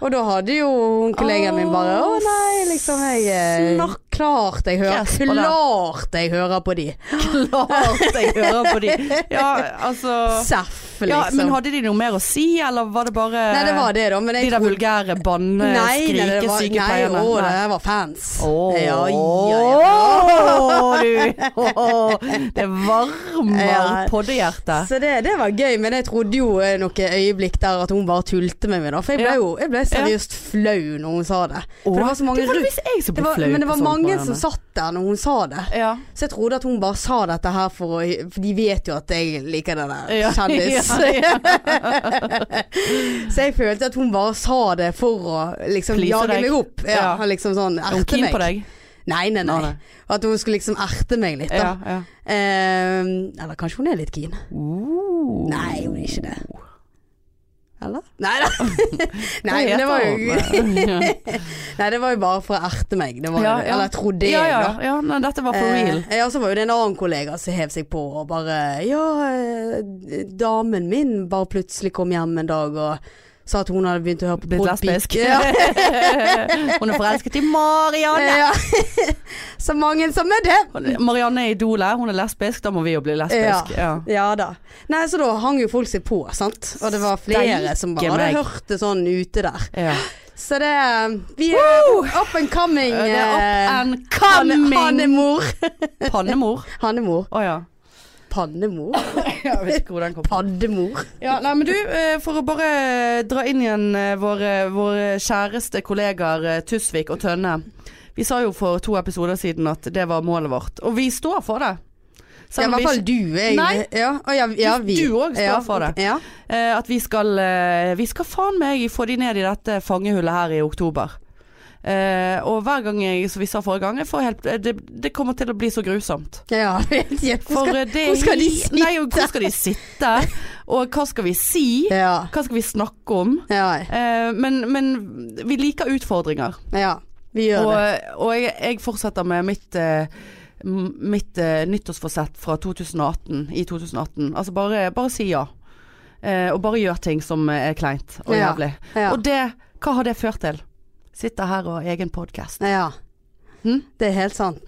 Speaker 1: Og da hadde jo hun kollegaen min bare Å nei, liksom jeg eh,
Speaker 2: Snakk-
Speaker 1: Klart jeg hører
Speaker 2: Yes, på det.
Speaker 1: Klart jeg hører på de.
Speaker 2: <laughs> Klart jeg hører på de. Ja, altså
Speaker 1: <laughs> Seff, liksom.
Speaker 2: ja, Men hadde de noe mer å si, eller var det bare
Speaker 1: nei, det var det, da. Men jeg
Speaker 2: de der vulgære
Speaker 1: Nei, nei, det var-
Speaker 2: banneskrikesykepleierne?
Speaker 1: Nei, å, det var fans.
Speaker 2: Åh,
Speaker 1: Ja, ja, ja.
Speaker 2: du. Åh, det varmer
Speaker 1: Ja.
Speaker 2: poddehjertet.
Speaker 1: Så det, det var gøy, men jeg trodde jo eh, noen øyeblikk der at hun bare tulte med meg, da. For jeg ble
Speaker 2: Ja.
Speaker 1: jo jeg ble seriøst flau når hun sa det. For det var så mange
Speaker 2: det var
Speaker 1: rundt.
Speaker 2: visst jeg som
Speaker 1: Det
Speaker 2: ble
Speaker 1: var,
Speaker 2: flau.
Speaker 1: men det
Speaker 2: på
Speaker 1: var
Speaker 2: sånt,
Speaker 1: mange
Speaker 2: Marianne.
Speaker 1: som satt der når hun sa det.
Speaker 2: ja.
Speaker 1: Så jeg trodde at hun bare sa dette her for å For de vet jo at jeg liker den
Speaker 2: Ja. <laughs>
Speaker 1: der kjendis.
Speaker 2: Ja, ja.
Speaker 1: Så jeg følte at hun bare sa det for å liksom
Speaker 2: Please
Speaker 1: jage
Speaker 2: deg.
Speaker 1: meg opp. Ja,
Speaker 2: Ja.
Speaker 1: Liksom sånn
Speaker 2: Er hun
Speaker 1: erte
Speaker 2: keen
Speaker 1: meg.
Speaker 2: på deg?
Speaker 1: Nei, nei,
Speaker 2: Nei,
Speaker 1: nei. At hun skulle liksom erte meg litt, da.
Speaker 2: Ja, ja.
Speaker 1: Eh, eller kanskje hun er litt keen.
Speaker 2: Uh.
Speaker 1: Nei, hun er ikke det. Eller? Nei
Speaker 2: <laughs>
Speaker 1: da. <laughs> Nei,
Speaker 2: Hva
Speaker 1: men det var jo,
Speaker 2: heter hun?
Speaker 1: <laughs> nei, det var jo bare for å erte meg. Det var,
Speaker 2: Ja,
Speaker 1: jo-
Speaker 2: ja.
Speaker 1: Eller jeg trodde
Speaker 2: ja,
Speaker 1: jeg,
Speaker 2: ja,
Speaker 1: da.
Speaker 2: ja. Nei, dette var for real.
Speaker 1: Eh, ja, så var jo det en annen kollega som hev seg på og bare Ja, eh, damen min bare plutselig kom hjem en dag og sa at hun hadde begynt å høre på
Speaker 2: Blitt
Speaker 1: podpik-
Speaker 2: lesbisk.
Speaker 1: Ja,
Speaker 2: <laughs> Hun er forelsket i Marianne.
Speaker 1: <laughs> ja. Så mange som er det.
Speaker 2: Marianne er idolet, hun er lesbisk, da må vi jo bli lesbisk. Ja.
Speaker 1: Ja da. Nei, så da hang jo folk seg på, sant. Og det var flere som bare
Speaker 2: Steike meg.
Speaker 1: hadde hørt det sånn ute der.
Speaker 2: Ja.
Speaker 1: Så det Vi er up and coming.
Speaker 2: Det er
Speaker 1: eh,
Speaker 2: up and
Speaker 1: Hanne-
Speaker 2: coming.
Speaker 1: Hannemor.
Speaker 2: Pannemor.
Speaker 1: Hannemor.
Speaker 2: <laughs> Å ja.
Speaker 1: Pannemor.
Speaker 2: Jeg vet ikke hvor den kom fra.
Speaker 1: Paddemor.
Speaker 2: Ja, nei, men du, eh, for å bare dra inn igjen eh, våre, våre kjæreste kollegaer eh, Tusvik og Tønne. Vi sa jo for to episoder siden at det var målet vårt, og vi står for det.
Speaker 1: Ja, I
Speaker 2: Selv
Speaker 1: hvert
Speaker 2: om vi
Speaker 1: fall
Speaker 2: ikke,
Speaker 1: du. Jeg,
Speaker 2: Nei.
Speaker 1: Ja, og ja, ja, vi.
Speaker 2: Du også står
Speaker 1: ja,
Speaker 2: for det.
Speaker 1: Ja.
Speaker 2: eh, at vi skal, eh, vi skal faen meg få de ned i dette fangehullet her i oktober. Eh, og hver gang jeg, som vi sa forrige gang, jeg får helt, eh, det, det kommer til å bli så grusomt.
Speaker 1: ja <laughs> jeg vet ikke. Hvor
Speaker 2: For
Speaker 1: skal,
Speaker 2: eh, det,
Speaker 1: hvor skal de
Speaker 2: hi-
Speaker 1: sitte?
Speaker 2: Nei, og hvor skal de sitte? Og hva skal vi si?
Speaker 1: Ja.
Speaker 2: Hva skal vi snakke om?
Speaker 1: Ja,
Speaker 2: Eh, men, men vi liker utfordringer.
Speaker 1: ja. Vi gjør
Speaker 2: Og, eh,
Speaker 1: det.
Speaker 2: og jeg, jeg fortsetter med mitt, eh, m- mitt eh, nyttårsforsett fra 2018, i 2018. Altså bare, bare si ja. Eh, og bare gjør ting som eh, er kleint og
Speaker 1: Ja,
Speaker 2: jævlig.
Speaker 1: Ja.
Speaker 2: Og det, hva har det ført til? Sitter her og har egen podkast.
Speaker 1: ja.
Speaker 2: Hm?
Speaker 1: Det er helt sant.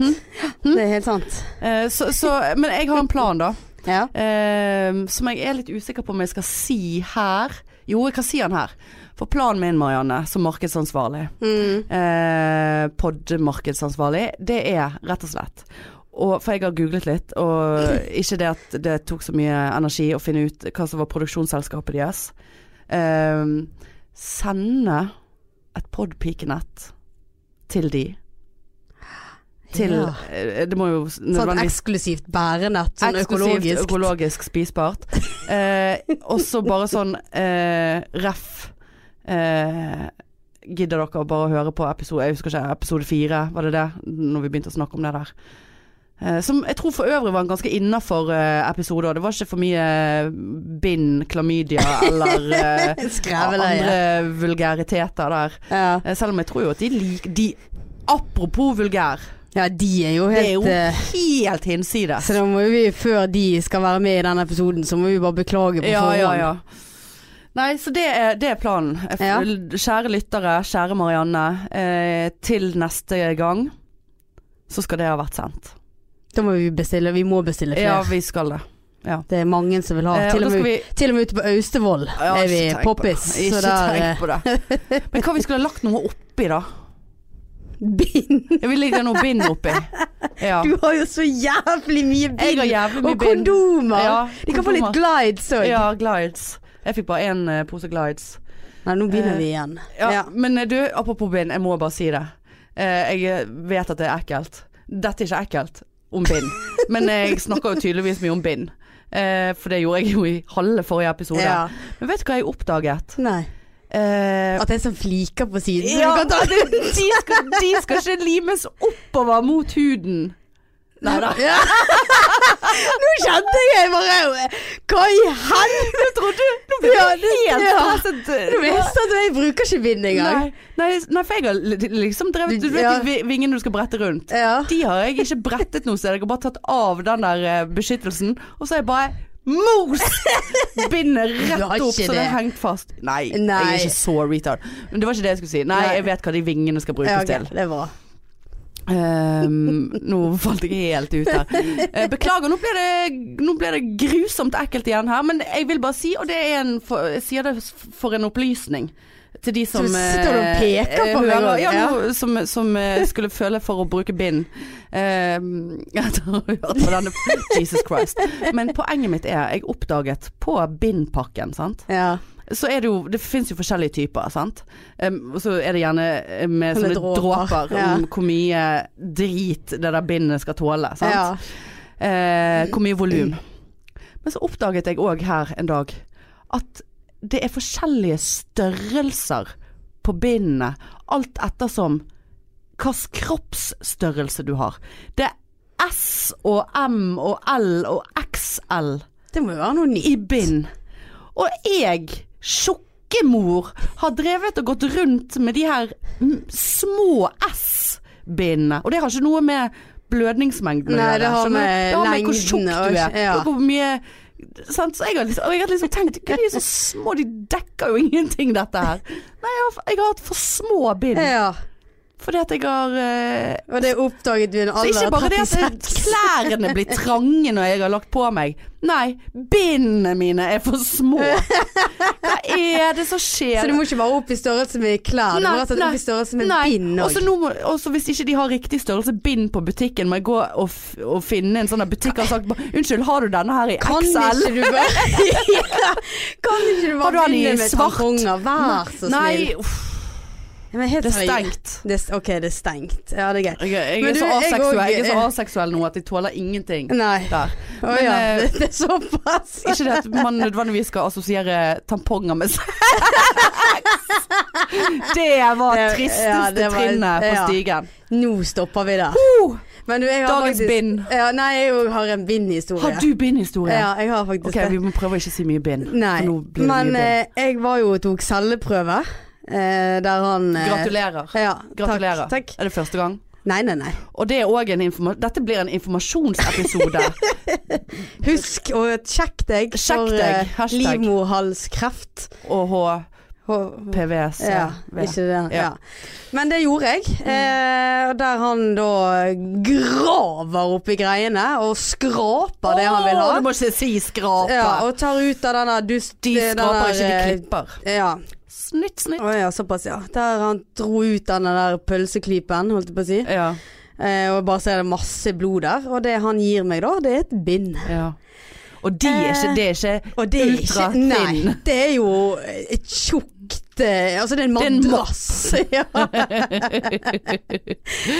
Speaker 1: Det er helt sant.
Speaker 2: Eh, så, så,
Speaker 1: <laughs>
Speaker 2: men jeg har en plan, da.
Speaker 1: Ja.
Speaker 2: Eh, som jeg er litt usikker på om jeg skal si her. Jo, jeg kan si den her. For planen min, Marianne, som markedsansvarlig
Speaker 1: Mm.
Speaker 2: eh, podmarkedsansvarlig, det er rett og slett og, For jeg har googlet litt, og ikke det at det tok så mye energi å finne ut hva som var produksjonsselskapet deres. Eh, sende et podpikenett til de. Til
Speaker 1: Ja. Sånn
Speaker 2: eh, Det må jo s-
Speaker 1: Sånt
Speaker 2: nødvendigvis
Speaker 1: eksklusivt bærenett. Sånn
Speaker 2: Eksklusivt
Speaker 1: økologisk.
Speaker 2: økologisk spisbart. Eh, og så bare sånn eh, ref eh, Gidder dere å bare høre på episode Jeg husker ikke, episode fire, var det det? Når vi begynte å snakke om det der. Eh, Som jeg tror for øvrig var en ganske innafor eh, episode, og det var ikke for mye eh, bind, klamydia eller
Speaker 1: <laughs>
Speaker 2: eh,
Speaker 1: Skreveleie.
Speaker 2: andre vulgariteter der.
Speaker 1: Ja.
Speaker 2: Eh, Selv om jeg tror jo at de liker de, Apropos vulgær,
Speaker 1: ja, de er jo
Speaker 2: det er
Speaker 1: helt
Speaker 2: jo
Speaker 1: eh,
Speaker 2: helt hinsides.
Speaker 1: Så da må jo vi, før de skal være med i den episoden, så må vi bare beklage på
Speaker 2: Ja,
Speaker 1: forhånd.
Speaker 2: ja, ja. Nei, så det er, det er planen. Jeg f-
Speaker 1: Ja.
Speaker 2: Kjære lyttere, kjære Marianne. Eh, til neste gang så skal det ha vært sendt.
Speaker 1: Da må vi bestille, vi må bestille flere.
Speaker 2: Ja, vi skal det.
Speaker 1: Det er mange som vil ha.
Speaker 2: Eh, og
Speaker 1: til,
Speaker 2: da
Speaker 1: og
Speaker 2: skal
Speaker 1: med,
Speaker 2: vi
Speaker 1: til og med ute på Austevoll
Speaker 2: Ja,
Speaker 1: er
Speaker 2: ikke
Speaker 1: vi
Speaker 2: tenk på
Speaker 1: poppis.
Speaker 2: det.
Speaker 1: Så
Speaker 2: Ikke
Speaker 1: der eh,
Speaker 2: tenk på det. Men hva vi skulle ha lagt noe oppi, da?
Speaker 1: Bind!
Speaker 2: Ja, Vi ligger noe bind oppi. Ja.
Speaker 1: <laughs> Du har jo så jævlig mye
Speaker 2: Jeg
Speaker 1: bind!
Speaker 2: har jævlig mye
Speaker 1: Og
Speaker 2: bind.
Speaker 1: kondomer!
Speaker 2: Ja,
Speaker 1: De kan få litt
Speaker 2: kondomer.
Speaker 1: glides òg.
Speaker 2: Ja, glides. Jeg fikk bare én eh, pose glides.
Speaker 1: Nei, nå begynner
Speaker 2: Eh,
Speaker 1: vi igjen.
Speaker 2: Ja,
Speaker 1: Ja.
Speaker 2: Men eh, du, apropos bind, jeg må bare si det. Eh, Jeg vet at det er ekkelt. Dette er ikke ekkelt
Speaker 1: <laughs>
Speaker 2: om bind, men jeg snakker jo tydeligvis mye om bind. Eh, For det gjorde jeg jo i halve forrige episode.
Speaker 1: Ja.
Speaker 2: Men vet du hva jeg oppdaget?
Speaker 1: Nei.
Speaker 2: Eh,
Speaker 1: At det er sånn fliker på siden. så
Speaker 2: Ja,
Speaker 1: du kan ta-
Speaker 2: de, skal, de skal ikke limes oppover mot huden. Nei da.
Speaker 1: Ja. <laughs> Nå kjente jeg bare Hva i helvete?
Speaker 2: Jeg trodde Nå ble
Speaker 1: Ja,
Speaker 2: jeg
Speaker 1: det-
Speaker 2: helt
Speaker 1: ja.
Speaker 2: presset.
Speaker 1: Du visste at jeg bruker ikke bind engang.
Speaker 2: Nei, nei, nei, for jeg har li- liksom drevet Du vet
Speaker 1: Ja.
Speaker 2: de vi- vingene du skal brette rundt?
Speaker 1: Ja.
Speaker 2: De har jeg ikke brettet noe sted. Jeg har bare tatt av den der eh, beskyttelsen, og så har jeg bare
Speaker 1: <laughs>
Speaker 2: most bindet
Speaker 1: Du har
Speaker 2: rett opp,
Speaker 1: ikke
Speaker 2: så det
Speaker 1: det.
Speaker 2: er hengt fast. Nei, jeg
Speaker 1: Nei.
Speaker 2: er ikke så retard. Men det var ikke det jeg skulle si. Nei,
Speaker 1: Nei.
Speaker 2: jeg vet hva de vingene skal brukes
Speaker 1: Ja, ok,
Speaker 2: til.
Speaker 1: det er bra.
Speaker 2: Ehm, nå falt jeg helt ut her. Eh, beklager, nå ble, det, nå ble det grusomt ekkelt igjen her. Men jeg vil bare si, og det er en, for, jeg sier det for en opplysning til de som
Speaker 1: Så sitter du og
Speaker 2: eh,
Speaker 1: peker på meg
Speaker 2: hører-
Speaker 1: også,
Speaker 2: Ja, nå, som, som eh, skulle føle for å bruke bind. Ehm, <laughs> etter å ha hørt på denne Jesus Christ. Men poenget mitt er, jeg oppdaget på bindpakken, sant
Speaker 1: Ja.
Speaker 2: så er det jo Det fins jo forskjellige typer, sant. Em, og så er det gjerne eh, med
Speaker 1: Sånne
Speaker 2: sånne
Speaker 1: dråper,
Speaker 2: dråper, om
Speaker 1: ja.
Speaker 2: hvor mye drit det der bindet skal tåle. Sant?
Speaker 1: ja.
Speaker 2: Eh, hvor mye
Speaker 1: <clears throat>
Speaker 2: volum. Men så oppdaget jeg òg her en dag at det er forskjellige størrelser på bindene, alt ettersom hvilken kroppsstørrelse du har. Det er S og M og L og XL
Speaker 1: Det må jo være noe nytt.
Speaker 2: i bind. Og jeg, tjukkemor, har drevet og gått rundt med de her mm, små S-bindene. Og det har ikke noe med blødningsmengden å
Speaker 1: Nei,
Speaker 2: gjøre.
Speaker 1: det har
Speaker 2: skjønner du?
Speaker 1: med
Speaker 2: det har med hvor
Speaker 1: lengden
Speaker 2: tjukk
Speaker 1: og-
Speaker 2: du er.
Speaker 1: ja.
Speaker 2: Og hvor mye sant? Så jeg har liksom, og jeg har liksom tenkt Hva er de så små? De dekker jo ingenting, dette her. Nei, jeg har, jeg har hatt for små bind.
Speaker 1: Ja.
Speaker 2: Fordi at jeg har eh,
Speaker 1: Og det oppdaget du i en
Speaker 2: så
Speaker 1: alder
Speaker 2: ikke
Speaker 1: av
Speaker 2: bare det at
Speaker 1: 36.
Speaker 2: klærne blir trange når jeg har lagt på meg. Nei, bindene mine er for små. Hva er det som skjer?
Speaker 1: Så du må ikke være opp i størrelse med klær, du må
Speaker 2: Nei,
Speaker 1: rett og slett opp
Speaker 2: nei,
Speaker 1: i størrelse med
Speaker 2: Nei,
Speaker 1: bind
Speaker 2: også
Speaker 1: òg.
Speaker 2: nå må- også hvis ikke de har riktig størrelse bind på butikken, må jeg gå og, f og finne en sånn der butikk og sagt bare, Unnskyld, har du denne her i
Speaker 1: Kan
Speaker 2: XL?
Speaker 1: ikke du bare <laughs> Ja, Kan ikke du
Speaker 2: Har du
Speaker 1: bare
Speaker 2: han i
Speaker 1: begynne med
Speaker 2: svart?
Speaker 1: tamponger? Vær så snill.
Speaker 2: Nei, uff,
Speaker 1: Jeg er helt
Speaker 2: det er
Speaker 1: seriøs.
Speaker 2: stengt.
Speaker 1: Det er st- ok, det er stengt. Ja, det er greit.
Speaker 2: Jeg, jeg,
Speaker 1: Men
Speaker 2: er
Speaker 1: du,
Speaker 2: så
Speaker 1: jeg
Speaker 2: aseksuell, jeg er så
Speaker 1: også-
Speaker 2: aseksuell nå at jeg tåler ingenting
Speaker 1: Nei.
Speaker 2: der.
Speaker 1: Å
Speaker 2: Men,
Speaker 1: ja.
Speaker 2: eh, <laughs>
Speaker 1: Det det er såpass.
Speaker 2: Ikke det at man nødvendigvis skal assosiere tamponger med
Speaker 1: <laughs>
Speaker 2: sex. Det var
Speaker 1: Det-
Speaker 2: tristeste
Speaker 1: ja, det var-
Speaker 2: trinnet på
Speaker 1: ja.
Speaker 2: stigen.
Speaker 1: Nå stopper vi der.
Speaker 2: Uh,
Speaker 1: Men du, jeg har
Speaker 2: dagens
Speaker 1: faktisk
Speaker 2: bind.
Speaker 1: Ja, nei, jeg jo har en bindhistorie.
Speaker 2: Har du bindhistorie?
Speaker 1: Ja, jeg har faktisk
Speaker 2: Ok,
Speaker 1: det.
Speaker 2: vi må prøve å ikke si mye bind. for
Speaker 1: Nei,
Speaker 2: nå blir det
Speaker 1: men
Speaker 2: mye bind.
Speaker 1: eh, jeg var jo og tok celleprøve. Eh, der han eh,
Speaker 2: Gratulerer.
Speaker 1: Ja,
Speaker 2: Gratulerer.
Speaker 1: Takk, takk.
Speaker 2: Er det første gang?
Speaker 1: Nei, nei, nei.
Speaker 2: Og det er også en informa Dette blir
Speaker 1: <laughs>
Speaker 2: en informasjonsepisode.
Speaker 1: Husk å sjekke deg
Speaker 2: Sjekk
Speaker 1: for
Speaker 2: deg.
Speaker 1: eh,
Speaker 2: Hashtag.
Speaker 1: livmorhalskreft.
Speaker 2: Og
Speaker 1: H-
Speaker 2: HPVC.
Speaker 1: Ja, ikke det. Ja.
Speaker 2: Ja. Mm.
Speaker 1: Men det gjorde jeg. Eh, og der han da graver oppi greiene og skraper det han vil ha.
Speaker 2: Åh, Du må ikke si skrape.
Speaker 1: Ja, og tar ut av denne dust...
Speaker 2: de
Speaker 1: den
Speaker 2: skraper ikke, de
Speaker 1: der, eh,
Speaker 2: klipper.
Speaker 1: Ja.
Speaker 2: Snytt, snytt.
Speaker 1: Å ja, såpass, ja. Der han dro ut den der pølseklypen, holdt jeg på å si.
Speaker 2: Ja.
Speaker 1: Eh, og bare så er det masse blod der. Og det han gir meg da, det er et bind.
Speaker 2: Ja. Og de er ikke,
Speaker 1: Eh,
Speaker 2: det er ikke
Speaker 1: Og det er
Speaker 2: Ultra
Speaker 1: ikke Nei,
Speaker 2: thin.
Speaker 1: det er jo et tjukt eh, Altså det er en
Speaker 2: Det er en
Speaker 1: madrass. <laughs> Ja.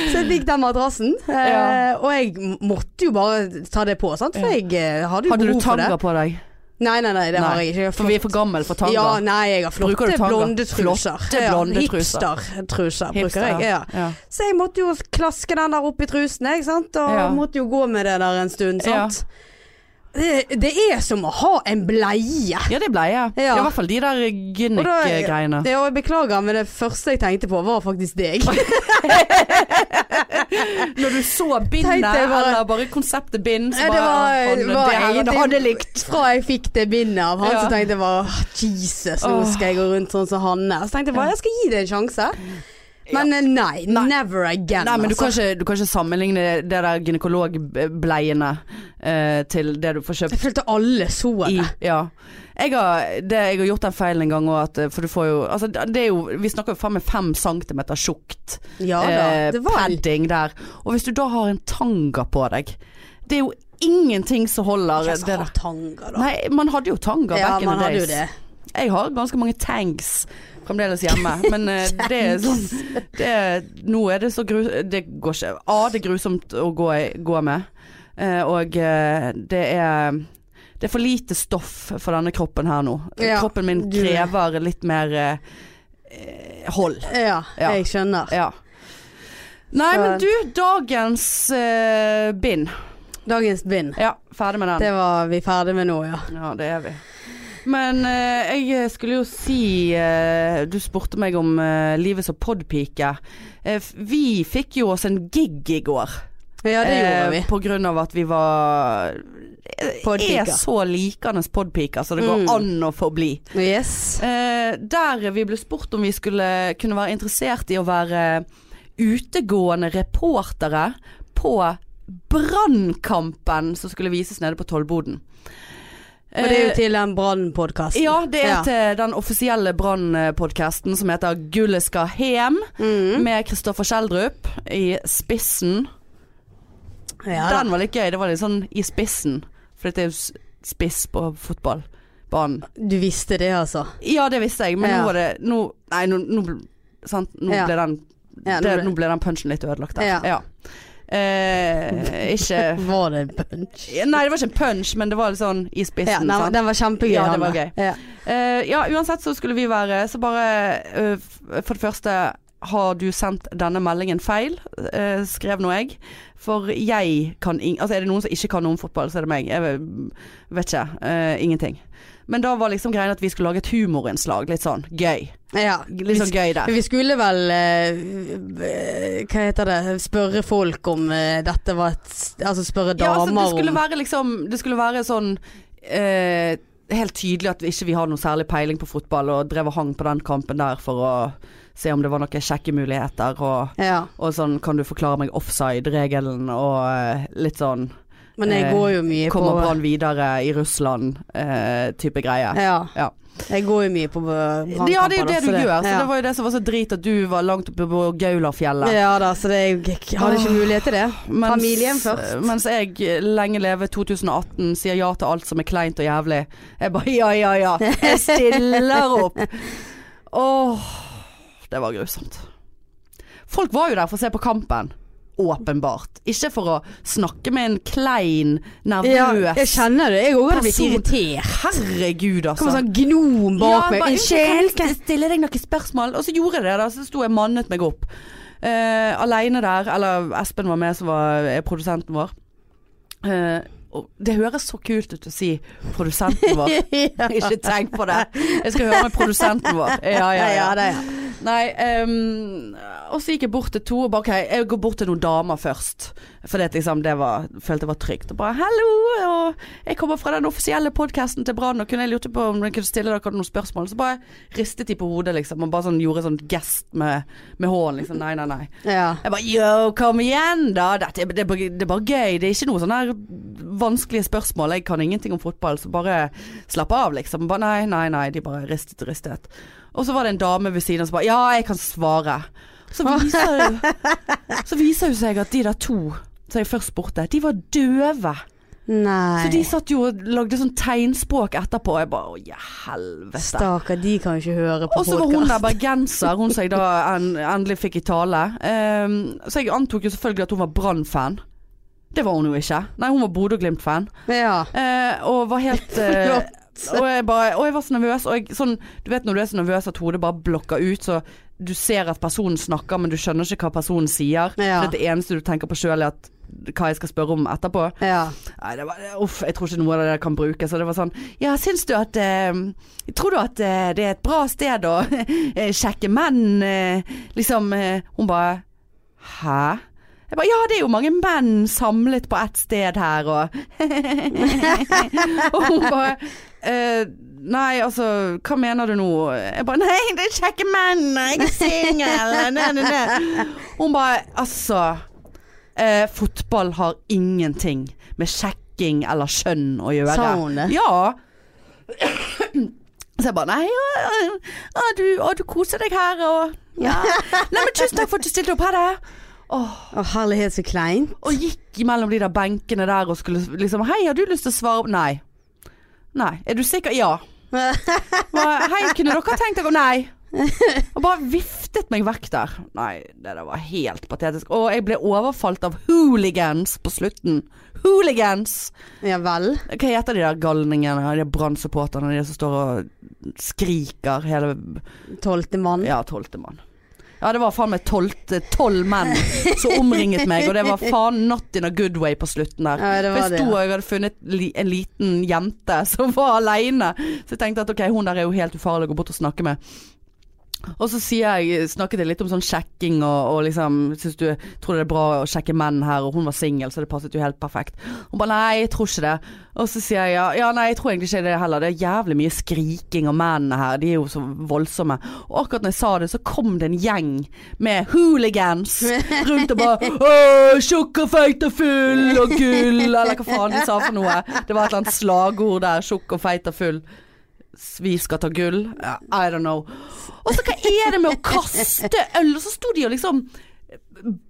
Speaker 1: så jeg fikk den madrassen, eh,
Speaker 2: <laughs> Ja.
Speaker 1: og jeg måtte jo bare ta det på, sant? for jeg eh, hadde jo
Speaker 2: Hadde du
Speaker 1: behov for det.
Speaker 2: tanga på deg?
Speaker 1: Nei, nei, nei, det har
Speaker 2: Nei,
Speaker 1: jeg ikke. Jeg har
Speaker 2: For vi er
Speaker 1: flott-
Speaker 2: for gammel for tanga.
Speaker 1: Ja, nei, jeg har
Speaker 2: Bruker du
Speaker 1: flotte
Speaker 2: tanga?
Speaker 1: blonde truser.
Speaker 2: Flotte blonde truser.
Speaker 1: Hipster-truser
Speaker 2: Hipster,
Speaker 1: bruker jeg. Ja.
Speaker 2: ja.
Speaker 1: Så jeg måtte jo klaske den der opp i trusen, jeg, sant? og
Speaker 2: Ja.
Speaker 1: måtte jo gå med det der en stund. Sant? Det, det er som å ha en bleie.
Speaker 2: Ja, det ble jeg.
Speaker 1: Ja.
Speaker 2: I hvert fall de
Speaker 1: Og
Speaker 2: der
Speaker 1: da-
Speaker 2: gynnik-greiene.
Speaker 1: Ja, og jeg beklager, men det første jeg tenkte på var faktisk deg.
Speaker 2: <laughs> Når du så bindet,
Speaker 1: Tenkte jeg bare-
Speaker 2: eller bare konseptet bind, så
Speaker 1: Det
Speaker 2: bare
Speaker 1: var,
Speaker 2: «Å, faen,
Speaker 1: var
Speaker 2: det her
Speaker 1: egentlig-
Speaker 2: hadde jeg likt.
Speaker 1: Fra jeg fikk det bindet av han,
Speaker 2: Ja.
Speaker 1: så tenkte jeg bare «Åh, Jesus, nå
Speaker 2: Åh.
Speaker 1: skal jeg gå rundt sånn som Hanne. Så tenkte jeg bare jeg skal gi det en sjanse. Men eh, nei,
Speaker 2: Nei.
Speaker 1: never again.
Speaker 2: Nei, men du
Speaker 1: altså.
Speaker 2: kan, ikke, du kan ikke sammenligne det der gynekologbleiene eh, til det du får kjøpt
Speaker 1: Jeg følte alle så
Speaker 2: i
Speaker 1: det.
Speaker 2: ja. jeg, har, det, jeg har gjort den feilen en gang òg, for du får jo Altså, det er jo Vi snakker jo faen meg fem centimeter tjukt
Speaker 1: Ja da,
Speaker 2: eh,
Speaker 1: det var
Speaker 2: padding der. Og hvis du da har en tanga på deg, det er jo ingenting som
Speaker 1: Jeg
Speaker 2: holder det
Speaker 1: skal ha
Speaker 2: der.
Speaker 1: tanga, da.
Speaker 2: Nei, man hadde jo tanga
Speaker 1: ja,
Speaker 2: back in
Speaker 1: man
Speaker 2: the
Speaker 1: hadde jo
Speaker 2: days.
Speaker 1: det.
Speaker 2: Jeg har ganske mange tanks fremdeles hjemme,
Speaker 1: <laughs>
Speaker 2: men eh, det er sånn det er, Nå er det så gru... Det går ikke A, det er grusomt å gå, i- gå med, eh, og eh, det er det er for lite stoff for denne kroppen her nå.
Speaker 1: Ja,
Speaker 2: kroppen min
Speaker 1: du-
Speaker 2: krever litt mer eh, eh, hold.
Speaker 1: <laughs> Ja,
Speaker 2: Ja.
Speaker 1: jeg skjønner.
Speaker 2: Ja. Nei,
Speaker 1: Så-
Speaker 2: men du, dagens eh, bind.
Speaker 1: Dagens bind.
Speaker 2: Ja, ferdig med den.
Speaker 1: Det var vi ferdig med nå, ja.
Speaker 2: Ja, det er vi. Men eh, jeg skulle jo si eh, Du spurte meg om eh, livet som podpike. Eh, f- vi fikk jo oss en gig i går.
Speaker 1: Ja, det gjorde
Speaker 2: Eh,
Speaker 1: vi.
Speaker 2: På grunn av at vi var
Speaker 1: Podpiker.
Speaker 2: Er så likende podpiker, så det går
Speaker 1: Mm.
Speaker 2: an å forbli.
Speaker 1: Yes.
Speaker 2: Eh, der vi ble spurt om vi skulle kunne være interessert i å være utegående reportere på Brannkampen som skulle vises nede på Tollboden.
Speaker 1: Og det er jo
Speaker 2: Eh,
Speaker 1: til den brannpodkasten.
Speaker 2: ja, det er
Speaker 1: Ja.
Speaker 2: til den offisielle Brann-podkasten som heter Gullet skal hjem,
Speaker 1: Mm.
Speaker 2: med Kristoffer Schjelderup i spissen.
Speaker 1: Ja, da.
Speaker 2: Den var litt gøy, det var litt sånn i spissen, for det er jo s- spiss på fotballbanen.
Speaker 1: Du visste det, altså.
Speaker 2: Ja, det visste jeg, men
Speaker 1: Ja.
Speaker 2: nå var det nå, Nei, nå, nå, bl- sant? nå
Speaker 1: Ja.
Speaker 2: ble den
Speaker 1: Ja, nå
Speaker 2: det,
Speaker 1: ble-
Speaker 2: Nå ble den punchen litt ødelagt der.
Speaker 1: Ja.
Speaker 2: Ja. Eh, ikke
Speaker 1: Var det en punch?
Speaker 2: Nei, det var ikke en punch, men det var litt sånn i
Speaker 1: Ja,
Speaker 2: spissen.
Speaker 1: den, var-
Speaker 2: sant?
Speaker 1: den var kjempegøy.
Speaker 2: Ja, det var
Speaker 1: Hanne.
Speaker 2: gøy.
Speaker 1: Ja.
Speaker 2: Eh, ja, uansett så skulle vi være Så bare eh, f- For det første har du sendt denne meldingen feil, eh, skrev nå jeg. For jeg kan ing... Altså er det noen som ikke kan noe om fotball, så er det meg. Jeg vet ikke. eh, ingenting. Men da var liksom greia at vi skulle lage et humorinnslag. Litt sånn gøy.
Speaker 1: Ja.
Speaker 2: Litt sånn gøy der.
Speaker 1: Vi skulle vel eh, eh, Hva heter det Spørre folk om eh, dette var et s- Altså spørre
Speaker 2: Ja, altså,
Speaker 1: damer
Speaker 2: det skulle
Speaker 1: om
Speaker 2: være liksom Det skulle være sånn eh, Helt tydelig at vi ikke vi har noe særlig peiling på fotball, og drev og hang på den kampen der for å se om det var noen kjekke muligheter, og,
Speaker 1: ja.
Speaker 2: og sånn Kan du forklare meg offside-regelen, og eh, litt sånn
Speaker 1: Men jeg
Speaker 2: Eh,
Speaker 1: går jo mye på
Speaker 2: Kommer Brann videre i Russland-type greie.
Speaker 1: ja.
Speaker 2: Ja.
Speaker 1: Jeg går jo mye på brannkamper.
Speaker 2: Eh, Ja, det er jo det
Speaker 1: da,
Speaker 2: du
Speaker 1: så
Speaker 2: gjør, så
Speaker 1: ja.
Speaker 2: det var jo det som var så drit at du var langt oppe på Gaulafjellet.
Speaker 1: Ja da, så det, jeg jeg hadde ikke mulighet til det.
Speaker 2: Mens,
Speaker 1: Familien først.
Speaker 2: Mens jeg lenge leve 2018 sier ja til alt som er kleint og jævlig. Jeg bare ja, ja, ja. Jeg stiller
Speaker 1: <laughs>
Speaker 2: opp. Åh, det var grusomt. Folk var jo der for å se på kampen. Åpenbart. Ikke for å snakke med en klein,
Speaker 1: Ja,
Speaker 2: nervøs
Speaker 1: jeg kjenner det. Jeg òg hadde blitt
Speaker 2: Person.
Speaker 1: irritert.
Speaker 2: Herregud, altså.
Speaker 1: Kommer sånn gnom bak meg.
Speaker 2: bare,
Speaker 1: Unnskyld.
Speaker 2: «Unnskyld, kan jeg stille deg noen spørsmål? Og så gjorde jeg det, da. Så sto jeg og mannet meg opp. Eh, Aleine der. Eller Espen var med, som var er produsenten vår. Eh, og det høres så kult ut å si produsenten vår.
Speaker 1: <laughs>
Speaker 2: <laughs>
Speaker 1: ja,
Speaker 2: Ikke tenk på det. Jeg skal høre med produsenten vår. Ja, ja, ja.
Speaker 1: ja, det, ja.
Speaker 2: Nei, ehm, og så gikk jeg bort til to og bare ok, jeg går bort til noen damer først. For det, liksom, det var, følte jeg var trygt. Og bare hallo, og jeg kommer fra den offisielle podkasten til Brann, og kunne jeg lurte på om jeg kunne stille dere noen spørsmål. Så bare ristet de på hodet, liksom, og bare sånn, gjorde sånn gest med, med hånden, liksom. Nei, nei, nei.
Speaker 1: ja.
Speaker 2: Jeg bare yo, kom igjen da. Dette, er- det, er bare- det er bare gøy. Det er ikke noe sånn her vanskelige spørsmål. Jeg kan ingenting om fotball, så bare slapp av, liksom. Bare, nei, nei, nei. De bare ristet og ristet. Og så var det en dame ved siden av som bare ja, jeg kan svare. Så viser, så viser det seg at de der to som jeg først spurte, de var døve.
Speaker 1: Nei.
Speaker 2: Så de satt jo og lagde sånn tegnspråk etterpå. Og jeg bare å, ja, helvete.
Speaker 1: Stakkar, de kan jo ikke høre på
Speaker 2: Og så var hun der
Speaker 1: podkast.
Speaker 2: bergenser, hun som jeg da en, endelig fikk i tale. Ehm, så jeg antok jo selvfølgelig at hun var Brann-fan. Det var hun jo ikke. Nei, hun var Bodø-Glimt-fan.
Speaker 1: Ja. <laughs>
Speaker 2: Eh, og var helt eh,
Speaker 1: Forlåt. sant?
Speaker 2: Og jeg, bare, og jeg var så nervøs. Og jeg, sånn, du vet når du er så nervøs at hodet bare blokker ut, så du ser at personen snakker, men du skjønner ikke hva personen sier.
Speaker 1: Ja.
Speaker 2: For Det eneste du tenker på sjøl, er at, hva jeg skal spørre om etterpå.
Speaker 1: Ja.
Speaker 2: Nei, det var, uff, jeg tror ikke noe av det der kan brukes. Så det var sånn Ja, syns du at eh, Tror du at eh, det er et bra sted å <laughs> eh, sjekke menn, eh, liksom eh, Hun bare Hæ? Jeg bare, ja, det er jo mange menn samlet på ett sted her, og <laughs> Og hun bare eh, Nei, altså, hva mener du nå? Jeg bare Nei, det er kjekke menn, jeg er singel, ne, ne, ne. Hun bare Altså. Eh, fotball har ingenting med sjekking eller skjønn å gjøre.
Speaker 1: Sa hun det?
Speaker 2: Ja. Så jeg bare Nei, ja, ja, ja, du, å, du koser deg her, og ja. Nei, men tusen takk for at du stilte opp. Ha det. Åh,
Speaker 1: Å, herlighet, så kleint.
Speaker 2: og gikk mellom de der benkene der og skulle liksom Hei, har du lyst til å svare opp? Nei. Nei. Er du sikker? Ja. Hva- Hei, kunne dere tenkt dere Nei. Og bare viftet meg vekk der. Nei, det der var helt patetisk. Og jeg ble overfalt av hooligans på slutten. Hooligans!
Speaker 1: Ja vel.
Speaker 2: Hva heter de der galningene, de brannsupporterne, de som står og skriker hele
Speaker 1: Tolvte mann.
Speaker 2: Ja, tolvte mann. Ja, det var faen meg tolvte, tolv menn som omringet meg, og det var faen not in a good way på slutten der.
Speaker 1: Ja, det var
Speaker 2: For jeg
Speaker 1: det,
Speaker 2: sto
Speaker 1: ja.
Speaker 2: og jeg hadde funnet li en liten jente som var aleine. Så jeg tenkte at ok, hun der er jo helt ufarlig å gå bort og snakke med. Og så sier jeg, snakket jeg litt om sånn sjekking og, og liksom synes du, Tror du det er bra å sjekke menn her? Og hun var singel, så det passet jo helt perfekt. Hun bare nei, jeg tror ikke det. Og så sier jeg ja, ja nei, jeg tror egentlig ikke det heller. Det er jævlig mye skriking, og mennene her, de er jo så voldsomme. Og akkurat når jeg sa det, så kom det en gjeng med hooligans rundt og bare Åh, tjukk og feit og full og gull, eller hva faen de sa for noe. Det var et eller annet slagord der. Tjukk og feit og full. Vi skal ta gull. Ja, I don't know. Og så hva er det med å kaste øl? Og så sto de og liksom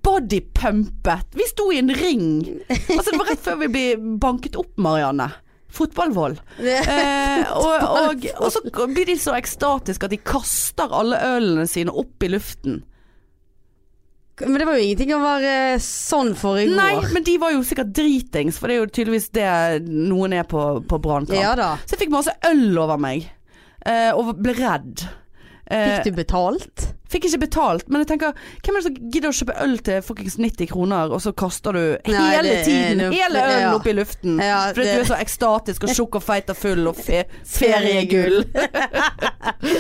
Speaker 2: bodypumpet. Vi sto i en ring. Altså det var rett før vi ble banket opp, Marianne. Fotballvold. Eh, og, og, og så blir de så ekstatiske at de kaster alle ølene sine opp i luften.
Speaker 1: Men det var jo ingenting å være sånn for i går.
Speaker 2: Nei, men de var jo sikkert dritings, for det er jo tydeligvis det noen er på, på brannkamp.
Speaker 1: Ja da.
Speaker 2: Så jeg fikk masse øl over meg, eh, og ble redd. Eh,
Speaker 1: Fikk du
Speaker 2: <gasps>
Speaker 1: betalt?
Speaker 2: Fikk ikke betalt, men jeg tenker Hvem er det som gidder å kjøpe øl til fuckings 90 kroner, og så kaster du
Speaker 1: Nei,
Speaker 2: hele
Speaker 1: det er
Speaker 2: tiden
Speaker 1: noe-
Speaker 2: hele ølen
Speaker 1: ja.
Speaker 2: opp i luften?
Speaker 1: Ja,
Speaker 2: fordi
Speaker 1: det-
Speaker 2: du er så ekstatisk og tjukk og feit og full og
Speaker 1: <laughs>
Speaker 2: fe feriegull. <laughs>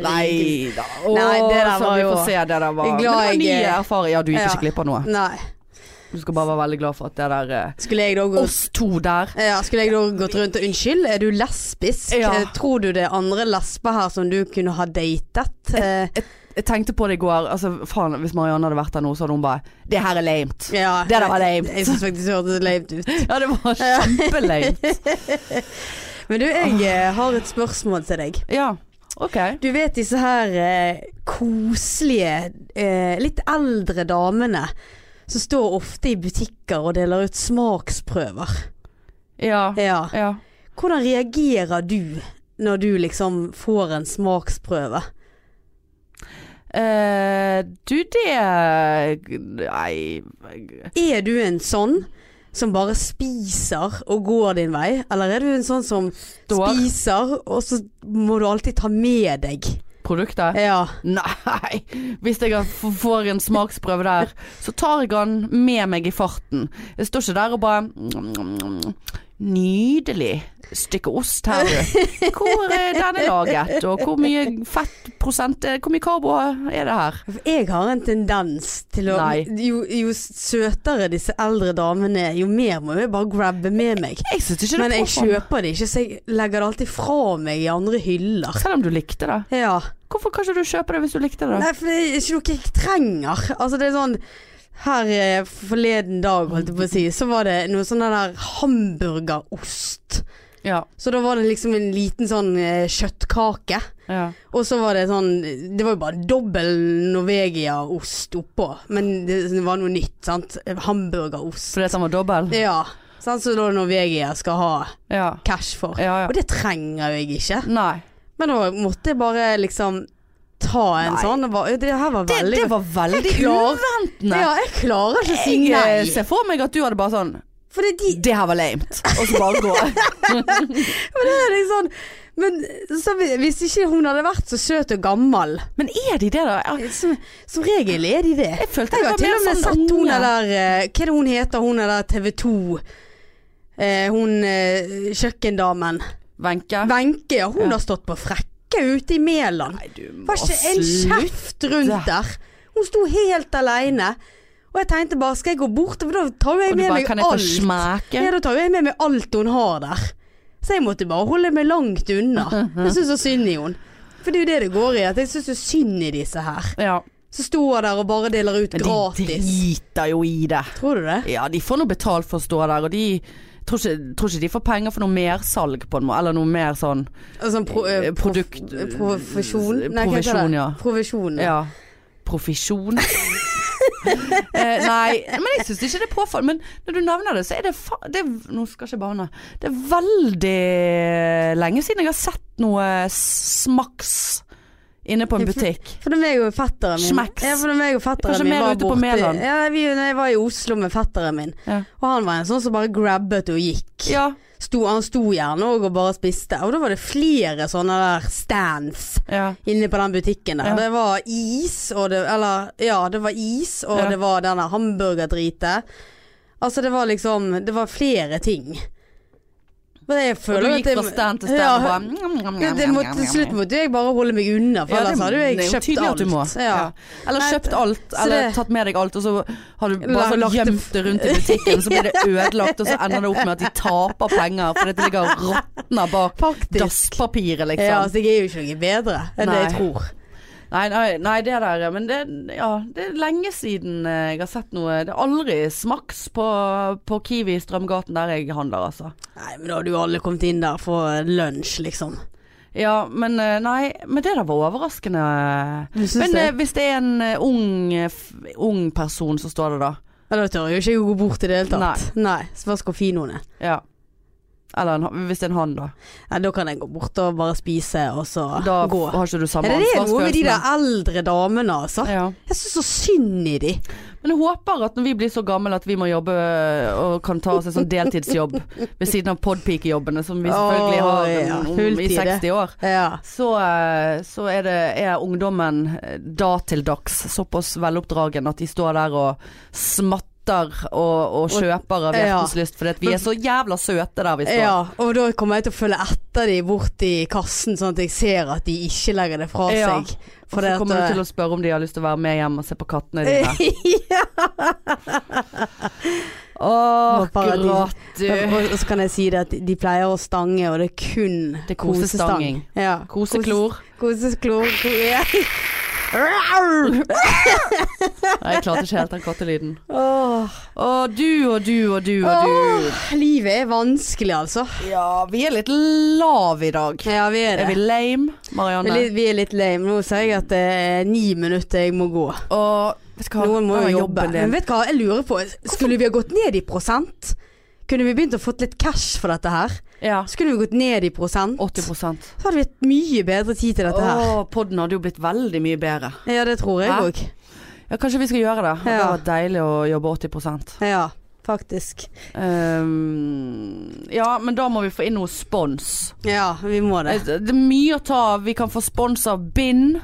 Speaker 2: Nei da. Åh,
Speaker 1: Nei, det der
Speaker 2: så
Speaker 1: var
Speaker 2: vi
Speaker 1: jo-
Speaker 2: får se det der var.
Speaker 1: Jeg er glad
Speaker 2: Men det var
Speaker 1: jeg-
Speaker 2: nye erfaringer. Ja, du gikk
Speaker 1: Ja.
Speaker 2: ikke glipp av noe.
Speaker 1: Nei.
Speaker 2: Du skal bare være veldig glad for at det der eh,
Speaker 1: Skulle jeg da gå
Speaker 2: Oss to der.
Speaker 1: Ja, skulle jeg da gått rundt og Unnskyld, er du lesbisk?
Speaker 2: Ja.
Speaker 1: Eh, Tror du det er andre lesber her som du kunne ha
Speaker 2: <laughs>
Speaker 1: datet? Eh,
Speaker 2: Jeg tenkte på det i går. Altså, faen, hvis Marianne hadde vært der nå, så hadde hun bare Det her er lamet.
Speaker 1: ja.
Speaker 2: Det der var lame.
Speaker 1: Jeg syns faktisk det hørtes lame ut.
Speaker 2: <laughs> Ja, det var
Speaker 1: <laughs>
Speaker 2: kjempelame.
Speaker 1: Men du, jeg eh, har et spørsmål til deg.
Speaker 2: Ja. OK.
Speaker 1: Du vet disse her eh, koselige, eh, litt eldre damene som står ofte i butikker og deler ut smaksprøver.
Speaker 2: Ja.
Speaker 1: Ja.
Speaker 2: Ja.
Speaker 1: Hvordan reagerer du når du liksom får en smaksprøve?
Speaker 2: Eh, du, det Nei
Speaker 1: Er du en sånn som bare spiser og går din vei, eller er du en sånn som
Speaker 2: Står.
Speaker 1: spiser, og så må du alltid ta med deg?
Speaker 2: Produktet?
Speaker 1: Ja.
Speaker 2: <laughs> Nei. Hvis jeg har- f- får en smaksprøve der, så tar jeg den med meg i farten. Jeg står ikke der og bare Nydelig stykke ost her, du. Hvor er den er laget, og hvor mye fettprosent eh, Hvor mye karbo er det her?
Speaker 1: Jeg har en tendens til å
Speaker 2: Nei.
Speaker 1: jo, jo søtere disse eldre damene er, jo mer må jeg bare grabbe med meg.
Speaker 2: Jeg syns ikke det
Speaker 1: Men jeg
Speaker 2: påfaller.
Speaker 1: kjøper det ikke, så jeg legger det alltid fra meg i andre hyller.
Speaker 2: Selv om du likte det.
Speaker 1: Ja.
Speaker 2: Hvorfor kan ikke du kjøpe det hvis du likte det?
Speaker 1: Nei, for det er ikke noe jeg trenger. Altså, det er sånn her eh, forleden dag, holdt jeg på å si, så var det noe sånn der hamburgerost.
Speaker 2: Ja.
Speaker 1: Så da var det liksom en liten sånn eh, kjøttkake.
Speaker 2: ja.
Speaker 1: Og så var det sånn Det var jo bare dobbel Norvegia-ost oppå. Men det, det var noe nytt, sant. Hamburgerost.
Speaker 2: Fordi at den var dobbel?
Speaker 1: Ja. Sånn som da Norvegia skal ha
Speaker 2: Ja.
Speaker 1: cash for.
Speaker 2: ja, ja.
Speaker 1: Og det trenger jo jeg ikke.
Speaker 2: Nei.
Speaker 1: Men da måtte jeg bare liksom ta en
Speaker 2: Nei.
Speaker 1: sånn. Og bare, det her var
Speaker 2: Det,
Speaker 1: veldig
Speaker 2: <laughs> det var veldig
Speaker 1: Jeg klarer-
Speaker 2: uventende.
Speaker 1: Ja, jeg klarer ikke å si
Speaker 2: Jeg eh,
Speaker 1: nei.
Speaker 2: ser for meg at du hadde bare sånn
Speaker 1: For det er de
Speaker 2: Det her var lamet. Og så bare
Speaker 1: <laughs>
Speaker 2: gå.
Speaker 1: Men det er liksom Men så, vi- hvis ikke hun hadde vært så søt og gammel
Speaker 2: Men er de det, da? Jeg-
Speaker 1: Som, som regel er de det.
Speaker 2: Jeg følte
Speaker 1: Jeg
Speaker 2: jeg
Speaker 1: har
Speaker 2: var
Speaker 1: til
Speaker 2: mer
Speaker 1: og med
Speaker 2: sånn
Speaker 1: sett hun
Speaker 2: unge.
Speaker 1: der eh, Hva er det hun heter, hun er der TV 2 eh, Hun eh, kjøkkendamen
Speaker 2: Wenche.
Speaker 1: Wenche, ja hun
Speaker 2: Ja.
Speaker 1: har stått på frekke ute i Mæland
Speaker 2: Nei, du må
Speaker 1: Var ikke en kjeft rundt der Hun sto helt alene Og jeg tenkte bare, skal jeg gå bort For da tar jo
Speaker 2: Og
Speaker 1: jeg
Speaker 2: du
Speaker 1: med
Speaker 2: bare
Speaker 1: meg
Speaker 2: kan jeg få
Speaker 1: alt
Speaker 2: smeke?
Speaker 1: Ja, da tar jo jeg med meg alt hun har der Så jeg måtte bare holde meg langt unna Jeg synes så synd i hun For det er jo det det går i, at jeg synes så synd i disse her
Speaker 2: Ja.
Speaker 1: så står der og bare deler ut
Speaker 2: Men de
Speaker 1: gratis.
Speaker 2: driter jo i det.
Speaker 1: Tror du det?
Speaker 2: Ja, de får nå betalt for å stå der, og de tror ikke, tror ikke de får penger for noe mersalg på en måte, eller noe mer sånn
Speaker 1: Altså, pro, eh,
Speaker 2: Eh,
Speaker 1: prof-
Speaker 2: produkt-
Speaker 1: eh, Profesjon? Nei, hva heter
Speaker 2: Provisjon,
Speaker 1: det? Provisjon.
Speaker 2: ja. Ja.
Speaker 1: <laughs>
Speaker 2: Profesjon. eh, nei, men jeg syns ikke det er påfall. Men når du nevner det, så er det, fa det er, Nå skal jeg ikke bane. Det er veldig lenge siden jeg har sett noe smaks inne på en butikk.
Speaker 1: For det meg og fetteren min
Speaker 2: Smacks.
Speaker 1: Ja, for det meg og fetteren
Speaker 2: Kanskje
Speaker 1: min
Speaker 2: mer
Speaker 1: var
Speaker 2: ute på
Speaker 1: borte-
Speaker 2: Mæland.
Speaker 1: Ja, vi, når jeg var i Oslo med fetteren min,
Speaker 2: Ja.
Speaker 1: og han var en sånn som bare grabbet og gikk.
Speaker 2: Ja.
Speaker 1: Sto, han sto gjerne òg og bare spiste. Og da var det flere sånne der stands
Speaker 2: ja.
Speaker 1: inne på den butikken der.
Speaker 2: Ja.
Speaker 1: Det var is, og det Eller, ja, det var is, og
Speaker 2: Ja.
Speaker 1: det var denne hamburgerdritet. Altså, det var liksom Det var flere ting. Men jeg
Speaker 2: Og
Speaker 1: føler
Speaker 2: du
Speaker 1: at
Speaker 2: gikk
Speaker 1: det-
Speaker 2: fra stand til stand
Speaker 1: Ja,
Speaker 2: og bare mm, mm,
Speaker 1: Ja, det
Speaker 2: mm,
Speaker 1: må,
Speaker 2: mm,
Speaker 1: til
Speaker 2: mm,
Speaker 1: slutt
Speaker 2: mm.
Speaker 1: måtte jeg bare holde meg unna, for
Speaker 2: Ja,
Speaker 1: ellers hadde jo
Speaker 2: sånn, det
Speaker 1: jeg
Speaker 2: er jo
Speaker 1: kjøpt
Speaker 2: tydelig
Speaker 1: alt.
Speaker 2: at du må.
Speaker 1: Ja.
Speaker 2: Ja. Eller
Speaker 1: Nei,
Speaker 2: kjøpt alt,
Speaker 1: så
Speaker 2: eller
Speaker 1: det-
Speaker 2: tatt med deg alt, og så har du bare
Speaker 1: Lagt
Speaker 2: sånn
Speaker 1: det-
Speaker 2: gjemt det rundt i butikken, så
Speaker 1: <laughs>
Speaker 2: blir det ødelagt, og så ender det opp med at de taper penger fordi det ligger og råtner bak
Speaker 1: Faktisk.
Speaker 2: dasspapiret, liksom.
Speaker 1: Ja, så jeg er jo ikke noe bedre enn det jeg
Speaker 2: Nei.
Speaker 1: tror.
Speaker 2: Nei, nei, nei, det der Men det, ja, det er lenge siden eh, jeg har sett noe Det er aldri smaks på, på Kiwi i Strømgaten der jeg handler, altså.
Speaker 1: Nei, men da hadde jo alle kommet inn der for lunsj, liksom.
Speaker 2: Ja, men eh, nei, men det der var overraskende.
Speaker 1: Du syns
Speaker 2: Men
Speaker 1: det?
Speaker 2: eh, hvis det er en eh, ung, eh, f- ung person, så står det da.
Speaker 1: Ja, da tør jeg jo ikke å gå bort i det hele tatt. Nei. så hva skal finoen er.
Speaker 2: Ja. Eller en, hvis det er en han, da.
Speaker 1: Nei, da kan jeg gå bort og bare spise, og så
Speaker 2: Da f-
Speaker 1: Ah, gå.
Speaker 2: har ikke du samme
Speaker 1: Ja, det er det noe med de
Speaker 2: ansvarsfølelsen.
Speaker 1: der eldre damene, altså.
Speaker 2: Ja.
Speaker 1: Jeg syns så synd i de.
Speaker 2: Men jeg håper at når vi blir så gamle at vi må jobbe øh, og kan ta oss en sånn deltidsjobb ved siden av podpikejobbene som vi selvfølgelig
Speaker 1: Åh,
Speaker 2: har
Speaker 1: ja,
Speaker 2: om, om, i
Speaker 1: fulltid, det.
Speaker 2: 60 år,
Speaker 1: Ja.
Speaker 2: så, eh, så er, det, er ungdommen eh, da til dags såpass veloppdragen at de står der og smatter og, og kjøper av
Speaker 1: Ja.
Speaker 2: hjertens lyst fordi at vi er så jævla søte der vi står.
Speaker 1: ja. Og da kommer jeg til å følge etter de bort i kassen, sånn at jeg ser at de ikke legger det fra
Speaker 2: Ja.
Speaker 1: seg.
Speaker 2: Og så kommer du til
Speaker 1: øh,
Speaker 2: å spørre om de har lyst til å være med hjem og se på
Speaker 1: <laughs>
Speaker 2: kattene dine.
Speaker 1: ja.
Speaker 2: Åh,
Speaker 1: paradis.
Speaker 2: gråt du.
Speaker 1: Og så kan jeg si det at de pleier å stange, og det er kun
Speaker 2: Det er kosestanging.
Speaker 1: Ja.
Speaker 2: Koseklor.
Speaker 1: Koses- Koseklor. ko- <laughs> ja.
Speaker 2: Nei, jeg klarte ikke helt den kattelyden.
Speaker 1: Åh,
Speaker 2: Å, du og du og du og du.
Speaker 1: livet er vanskelig, altså.
Speaker 2: Ja, vi er litt lav i dag.
Speaker 1: Ja, vi er
Speaker 2: Er vi
Speaker 1: det.
Speaker 2: lame,
Speaker 1: Vi er
Speaker 2: Marianne?
Speaker 1: litt, vi er litt lame. Nå sier jeg at det er ni minutter jeg må gå.
Speaker 2: Og vet du hva?
Speaker 1: Noen må
Speaker 2: Nå er
Speaker 1: jo jobbe.
Speaker 2: jobben din.
Speaker 1: Men vet du hva, jeg lurer på Skulle vi ha gått ned i prosent? Kunne vi begynt å fått litt cash for dette her?
Speaker 2: Ja.
Speaker 1: Så kunne vi gått ned i prosent.
Speaker 2: 80
Speaker 1: Så hadde vi hatt mye bedre tid til dette her.
Speaker 2: Åh, podden hadde jo blitt veldig mye bedre.
Speaker 1: Ja, det tror jeg
Speaker 2: Hæ?
Speaker 1: òg.
Speaker 2: Ja, kanskje vi skal gjøre det. Det
Speaker 1: Ja.
Speaker 2: hadde vært deilig å jobbe 80
Speaker 1: Ja, faktisk.
Speaker 2: Ehm, Ja, men da må vi få inn noe spons.
Speaker 1: Ja, vi må det.
Speaker 2: Altså, Det det er mye å ta av. Vi kan få spons av bind.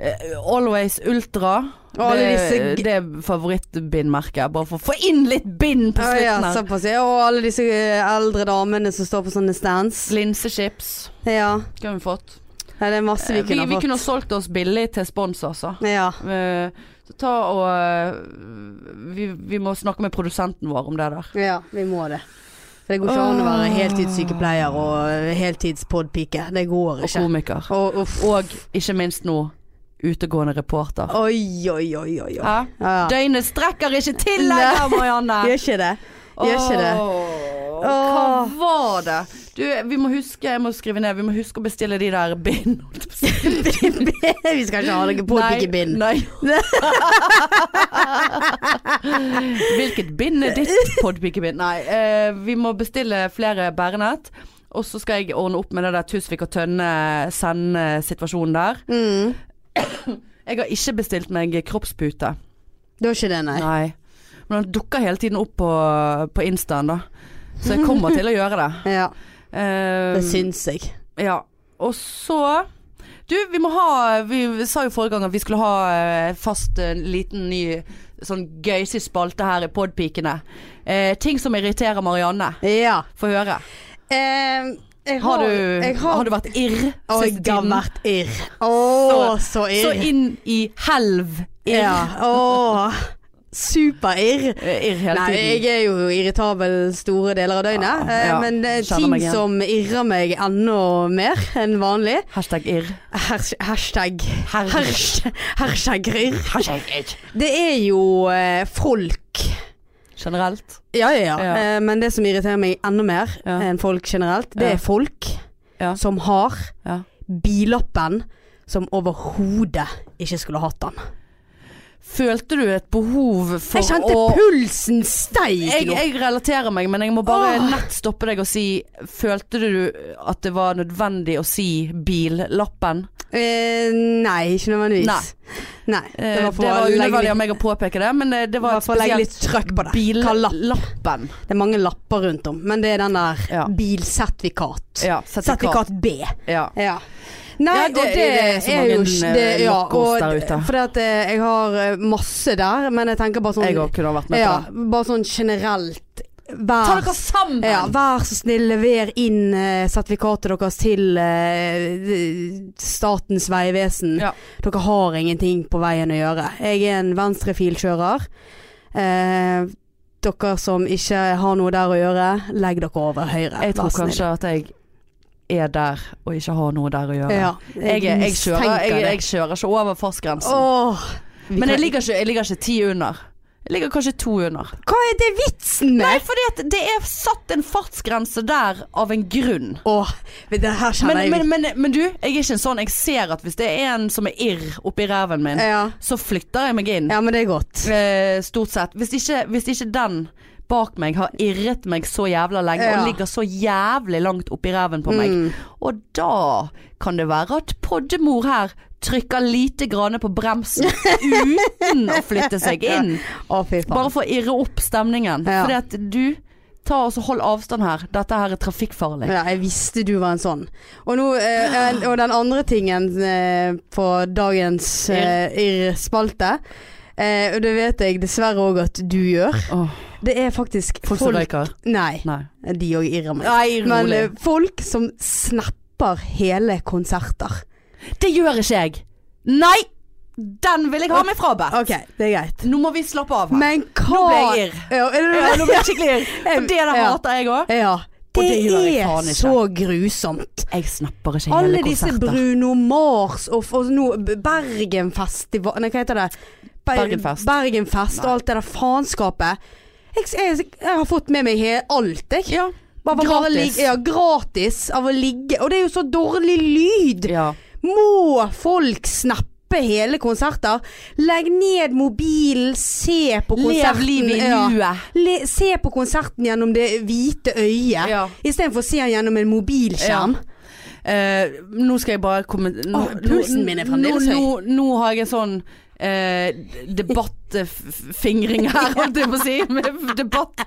Speaker 2: eh, Always Ultra.
Speaker 1: Og alle disse
Speaker 2: Det,
Speaker 1: g-
Speaker 2: det er favorittbindmerket. Bare for å få inn litt bind på
Speaker 1: Ja, Ah, ja,
Speaker 2: slutten her.
Speaker 1: såpass. Ja, og alle disse eh, eldre damene som står på sånne stands.
Speaker 2: Linsechips
Speaker 1: Ja,
Speaker 2: kunne vi fått.
Speaker 1: Nei, det er masse vi
Speaker 2: Eh,
Speaker 1: kunne
Speaker 2: vi, vi
Speaker 1: ha fått.
Speaker 2: kunne ha solgt oss billig til spons, altså.
Speaker 1: Ja.
Speaker 2: Eh, Så ta og eh, vi, vi må snakke med produsenten vår om det der.
Speaker 1: ja, vi må det. For det går ikke an å være heltidssykepleier og eh, heltidspodpike. Det går
Speaker 2: Og
Speaker 1: ikke.
Speaker 2: komiker.
Speaker 1: Og, uff.
Speaker 2: Og ikke minst nå utegående reporter.
Speaker 1: Oi, oi, oi, oi. oi.
Speaker 2: Hæ?
Speaker 1: Ja.
Speaker 2: Døgnet strekker ikke til lenger,
Speaker 1: <laughs>
Speaker 2: Marianne!
Speaker 1: Gjør ikke
Speaker 2: <laughs>
Speaker 1: det. Gjør ikke det.
Speaker 2: Åh,
Speaker 1: Åh.
Speaker 2: Hva var det? Du, vi må huske, jeg må skrive ned, vi må huske å bestille de der
Speaker 1: <laughs>
Speaker 2: bind.
Speaker 1: vi skal ikke ha noe påpikebind. <laughs>
Speaker 2: Nei. nei. Hvilket bind er ditt podpikebind? Nei, eh, vi må bestille flere bærenett. Og så skal jeg ordne opp med det der Tusvik og Tønne-send-situasjonen der.
Speaker 1: Mm.
Speaker 2: Jeg har ikke bestilt meg kroppspute.
Speaker 1: Det var ikke det, nei.
Speaker 2: Nei. Men han dukker hele tiden opp på, på Instaen, da. Så jeg kommer til å gjøre det.
Speaker 1: Ja,
Speaker 2: Eh,
Speaker 1: det syns jeg.
Speaker 2: ja. Og så Du, vi må ha Vi sa jo forrige gang at vi skulle ha eh, fast en liten ny sånn gøysig spalte her i Podpikene. Eh, ting som irriterer Marianne.
Speaker 1: Ja.
Speaker 2: Få høre.
Speaker 1: Eh, jeg
Speaker 2: Har du,
Speaker 1: jeg
Speaker 2: har, du vært irr
Speaker 1: Å,
Speaker 2: siste
Speaker 1: jeg har
Speaker 2: tiden?
Speaker 1: vært irr. Å, så
Speaker 2: Så
Speaker 1: irr.
Speaker 2: inn i helv irr.
Speaker 1: Ja. Åh. Superirr.
Speaker 2: Eh, irr hele
Speaker 1: Nei,
Speaker 2: tiden.
Speaker 1: jeg er jo irritabel store deler av døgnet,
Speaker 2: Ja, ja.
Speaker 1: eh, men det er
Speaker 2: Kjenner
Speaker 1: ting
Speaker 2: meg igjen.
Speaker 1: som irrer meg enda mer enn vanlig.
Speaker 2: Hashtag irr.
Speaker 1: Hers hashtag
Speaker 2: Herr-
Speaker 1: hers Hersjagrir.
Speaker 2: Hashtag irr.
Speaker 1: Det er jo eh, folk
Speaker 2: Generelt.
Speaker 1: Ja, ja, ja.
Speaker 2: Ja.
Speaker 1: Eh, men det som irriterer meg enda mer
Speaker 2: Ja.
Speaker 1: enn folk generelt, det
Speaker 2: Ja.
Speaker 1: er folk
Speaker 2: Ja.
Speaker 1: som har
Speaker 2: Ja.
Speaker 1: bilappen som overhodet ikke skulle hatt den.
Speaker 2: Følte du et behov for
Speaker 1: Jeg kjente
Speaker 2: å
Speaker 1: pulsen steig
Speaker 2: jeg,
Speaker 1: nå.
Speaker 2: jeg relaterer meg, men jeg må bare
Speaker 1: Åh.
Speaker 2: nett stoppe deg og si Følte du at det var nødvendig å si billappen?
Speaker 1: Eh, nei, ikke nødvendigvis. Nei.
Speaker 2: Eh,
Speaker 1: det var for å legge
Speaker 2: unødvendig
Speaker 1: litt
Speaker 2: av meg å påpeke det, men eh, det, det
Speaker 1: Det
Speaker 2: var
Speaker 1: var
Speaker 2: et
Speaker 1: for å legge
Speaker 2: spesielt
Speaker 1: litt trøkk på det. Hva lapp?
Speaker 2: billappen.
Speaker 1: Det er mange lapper rundt om, men det er den der
Speaker 2: Ja.
Speaker 1: bilsertifikat.
Speaker 2: Ja,
Speaker 1: Sertifikat B.
Speaker 2: Ja.
Speaker 1: Ja. Nei,
Speaker 2: Ja,
Speaker 1: og
Speaker 2: det-
Speaker 1: det,
Speaker 2: det er så
Speaker 1: er
Speaker 2: mange,
Speaker 1: jo ikke det,
Speaker 2: eh,
Speaker 1: ja,
Speaker 2: lokkos der ute.
Speaker 1: Fordi at eh, jeg har eh, masse der, men jeg tenker bare sånn
Speaker 2: Jeg òg kunne ha vært med
Speaker 1: ja,
Speaker 2: på den.
Speaker 1: Bare sånn generelt. Vær,
Speaker 2: Ta dere sammen!
Speaker 1: ja, vær så snill, lever inn eh, sertifikatet deres til eh, Statens vegvesen.
Speaker 2: Ja.
Speaker 1: Dere har ingenting på veien å gjøre. Jeg er en venstrefilkjører. Eh, dere som ikke har noe der å gjøre, legg dere over høyre.
Speaker 2: Jeg
Speaker 1: vær så
Speaker 2: tror
Speaker 1: snill.
Speaker 2: kanskje at jeg er der og ikke har noe der å gjøre.
Speaker 1: ja,
Speaker 2: Jeg, er- jeg, kjører,
Speaker 1: mistenker
Speaker 2: jeg,
Speaker 1: det.
Speaker 2: jeg kjører ikke over fartsgrensen.
Speaker 1: Åh, vi
Speaker 2: Men jeg
Speaker 1: kan-
Speaker 2: ligger, ikke, jeg ligger ikke ti under. Jeg ligger kanskje to under.
Speaker 1: Hva er det vitsen med?
Speaker 2: Nei, fordi at det er satt en fartsgrense der av en grunn.
Speaker 1: Åh, men det her kjenner
Speaker 2: Men,
Speaker 1: jeg
Speaker 2: men, men, men du, jeg er ikke en sånn Jeg ser at hvis det er en som er irr oppi ræven min,
Speaker 1: ja.
Speaker 2: så flytter jeg meg inn.
Speaker 1: Eh. ja, men det er godt.
Speaker 2: Eh, stort sett. Hvis ikke, hvis ikke den bak meg har irret meg så jævla lenge
Speaker 1: Ja.
Speaker 2: og ligger så jævlig langt oppi ræven på meg,
Speaker 1: Mm.
Speaker 2: og da kan det være at poddemor her trykker lite grann på
Speaker 1: <laughs>
Speaker 2: bremsen uten å flytte seg inn.
Speaker 1: Å, fy faen.
Speaker 2: Bare for å irre opp stemningen.
Speaker 1: Ja.
Speaker 2: Fordi at du, ta og så hold avstand her. Dette her er trafikkfarlig.
Speaker 1: Ja, jeg visste du var en sånn. Og, nå,
Speaker 2: <gasps>
Speaker 1: eh, en- og den andre tingen eh, på dagens eh, irr-spalte, eh, og det vet jeg dessverre òg at du gjør,
Speaker 2: Åh,
Speaker 1: det er faktisk
Speaker 2: folk som
Speaker 1: folk
Speaker 2: røyker.
Speaker 1: Nei,
Speaker 2: Nei.
Speaker 1: de òg irrer meg.
Speaker 2: Nei,
Speaker 1: Men eh, folk som snapper hele konserter.
Speaker 2: det gjør ikke jeg. Nei! Den vil jeg ha meg frabedt.
Speaker 1: OK, det er greit.
Speaker 2: Nå må vi slappe av her.
Speaker 1: Men hva
Speaker 2: Nå ble jeg irr.
Speaker 1: Ja, er det-
Speaker 2: Ja, nå <laughs> ble jeg skikkelig irr. For det der
Speaker 1: <laughs> Ja.
Speaker 2: hater jeg òg.
Speaker 1: Ja.
Speaker 2: Og
Speaker 1: Det,
Speaker 2: det gjør jeg faen
Speaker 1: er
Speaker 2: ikke.
Speaker 1: så grusomt.
Speaker 2: Jeg snapper ikke
Speaker 1: Alle
Speaker 2: hele
Speaker 1: disse
Speaker 2: konserter.
Speaker 1: Bruno Mars og, f- og nå B- Bergenfestival Nei, hva heter det? Ber-
Speaker 2: Bergenfest.
Speaker 1: Bergenfest og alt det der faenskapet. Jeg, jeg, jeg har fått med meg he, alt, jeg.
Speaker 2: Ja,
Speaker 1: Bare, bare
Speaker 2: gratis.
Speaker 1: ligge- ja, gratis av å ligge. Og det er jo så dårlig lyd.
Speaker 2: ja.
Speaker 1: Må folk snappe hele konserter? Legg ned mobilen, se på
Speaker 2: Lev
Speaker 1: konserten.
Speaker 2: livet i
Speaker 1: ja.
Speaker 2: nuet.
Speaker 1: Le, se på konserten gjennom det hvite øyet.
Speaker 2: Ja.
Speaker 1: Istedenfor å se den gjennom en mobilskjerm.
Speaker 2: Eh, nå skal jeg bare komme nå,
Speaker 1: Åh, pulsen
Speaker 2: nå-
Speaker 1: min er fremdeles høy.
Speaker 2: Nå, nå, nå har jeg en sånn eh, debattfingring
Speaker 1: <laughs>
Speaker 2: her, holdt jeg på å si. Med Debatt.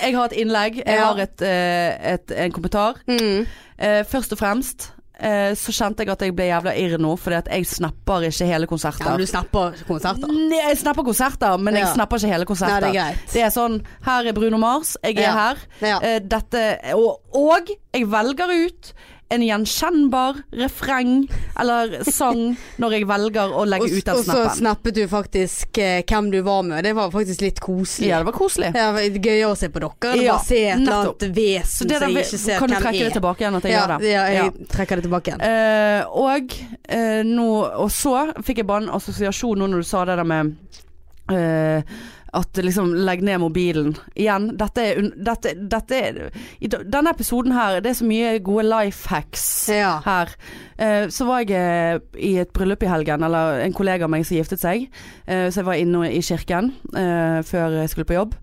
Speaker 2: Jeg har et innlegg. Jeg
Speaker 1: Ja.
Speaker 2: har et, eh, et, en kommentar.
Speaker 1: Mm.
Speaker 2: Eh, først og fremst eh, så kjente jeg at jeg ble jævla irr nå, fordi at jeg snapper ikke hele
Speaker 1: Ja, men
Speaker 2: konserter.
Speaker 1: du snapper konserter.
Speaker 2: Nei, jeg snapper konserter, men jeg
Speaker 1: Ja.
Speaker 2: snapper ikke hele
Speaker 1: Nei,
Speaker 2: konserter.
Speaker 1: det er greit.
Speaker 2: det er sånn Her er Bruno Mars, jeg er
Speaker 1: Ja.
Speaker 2: her.
Speaker 1: Ja.
Speaker 2: Eh, dette og, og jeg velger ut en gjenkjennbar refreng eller sang når jeg velger å legge
Speaker 1: Og,
Speaker 2: ut den
Speaker 1: og så
Speaker 2: snappen.
Speaker 1: snappet du faktisk eh, hvem du var med, og det var faktisk litt koselig.
Speaker 2: Ja, det var koselig.
Speaker 1: Det var gøyere å se på dere enn
Speaker 2: Ja,
Speaker 1: bare se et eller
Speaker 2: nettopp.
Speaker 1: annet
Speaker 2: Så
Speaker 1: vesen som
Speaker 2: det der,
Speaker 1: jeg ikke ser
Speaker 2: kan du
Speaker 1: hvem
Speaker 2: trekke det
Speaker 1: er.
Speaker 2: tilbake igjen at jeg
Speaker 1: Ja,
Speaker 2: gjør det?
Speaker 1: ja, jeg
Speaker 2: Ja.
Speaker 1: trekker det tilbake igjen.
Speaker 2: Eh, og eh, nå Og så fikk jeg bare en assosiasjon nå når du sa det der med eh, at liksom legg ned mobilen. Igjen, dette er, un- dette, dette er i da- Denne episoden her, det er så mye gode life hacks
Speaker 1: Ja.
Speaker 2: her. Eh, så var jeg eh, i et bryllup i helgen, eller en kollega av meg som giftet seg. Eh, så jeg var inne i kirken eh, før jeg skulle på jobb.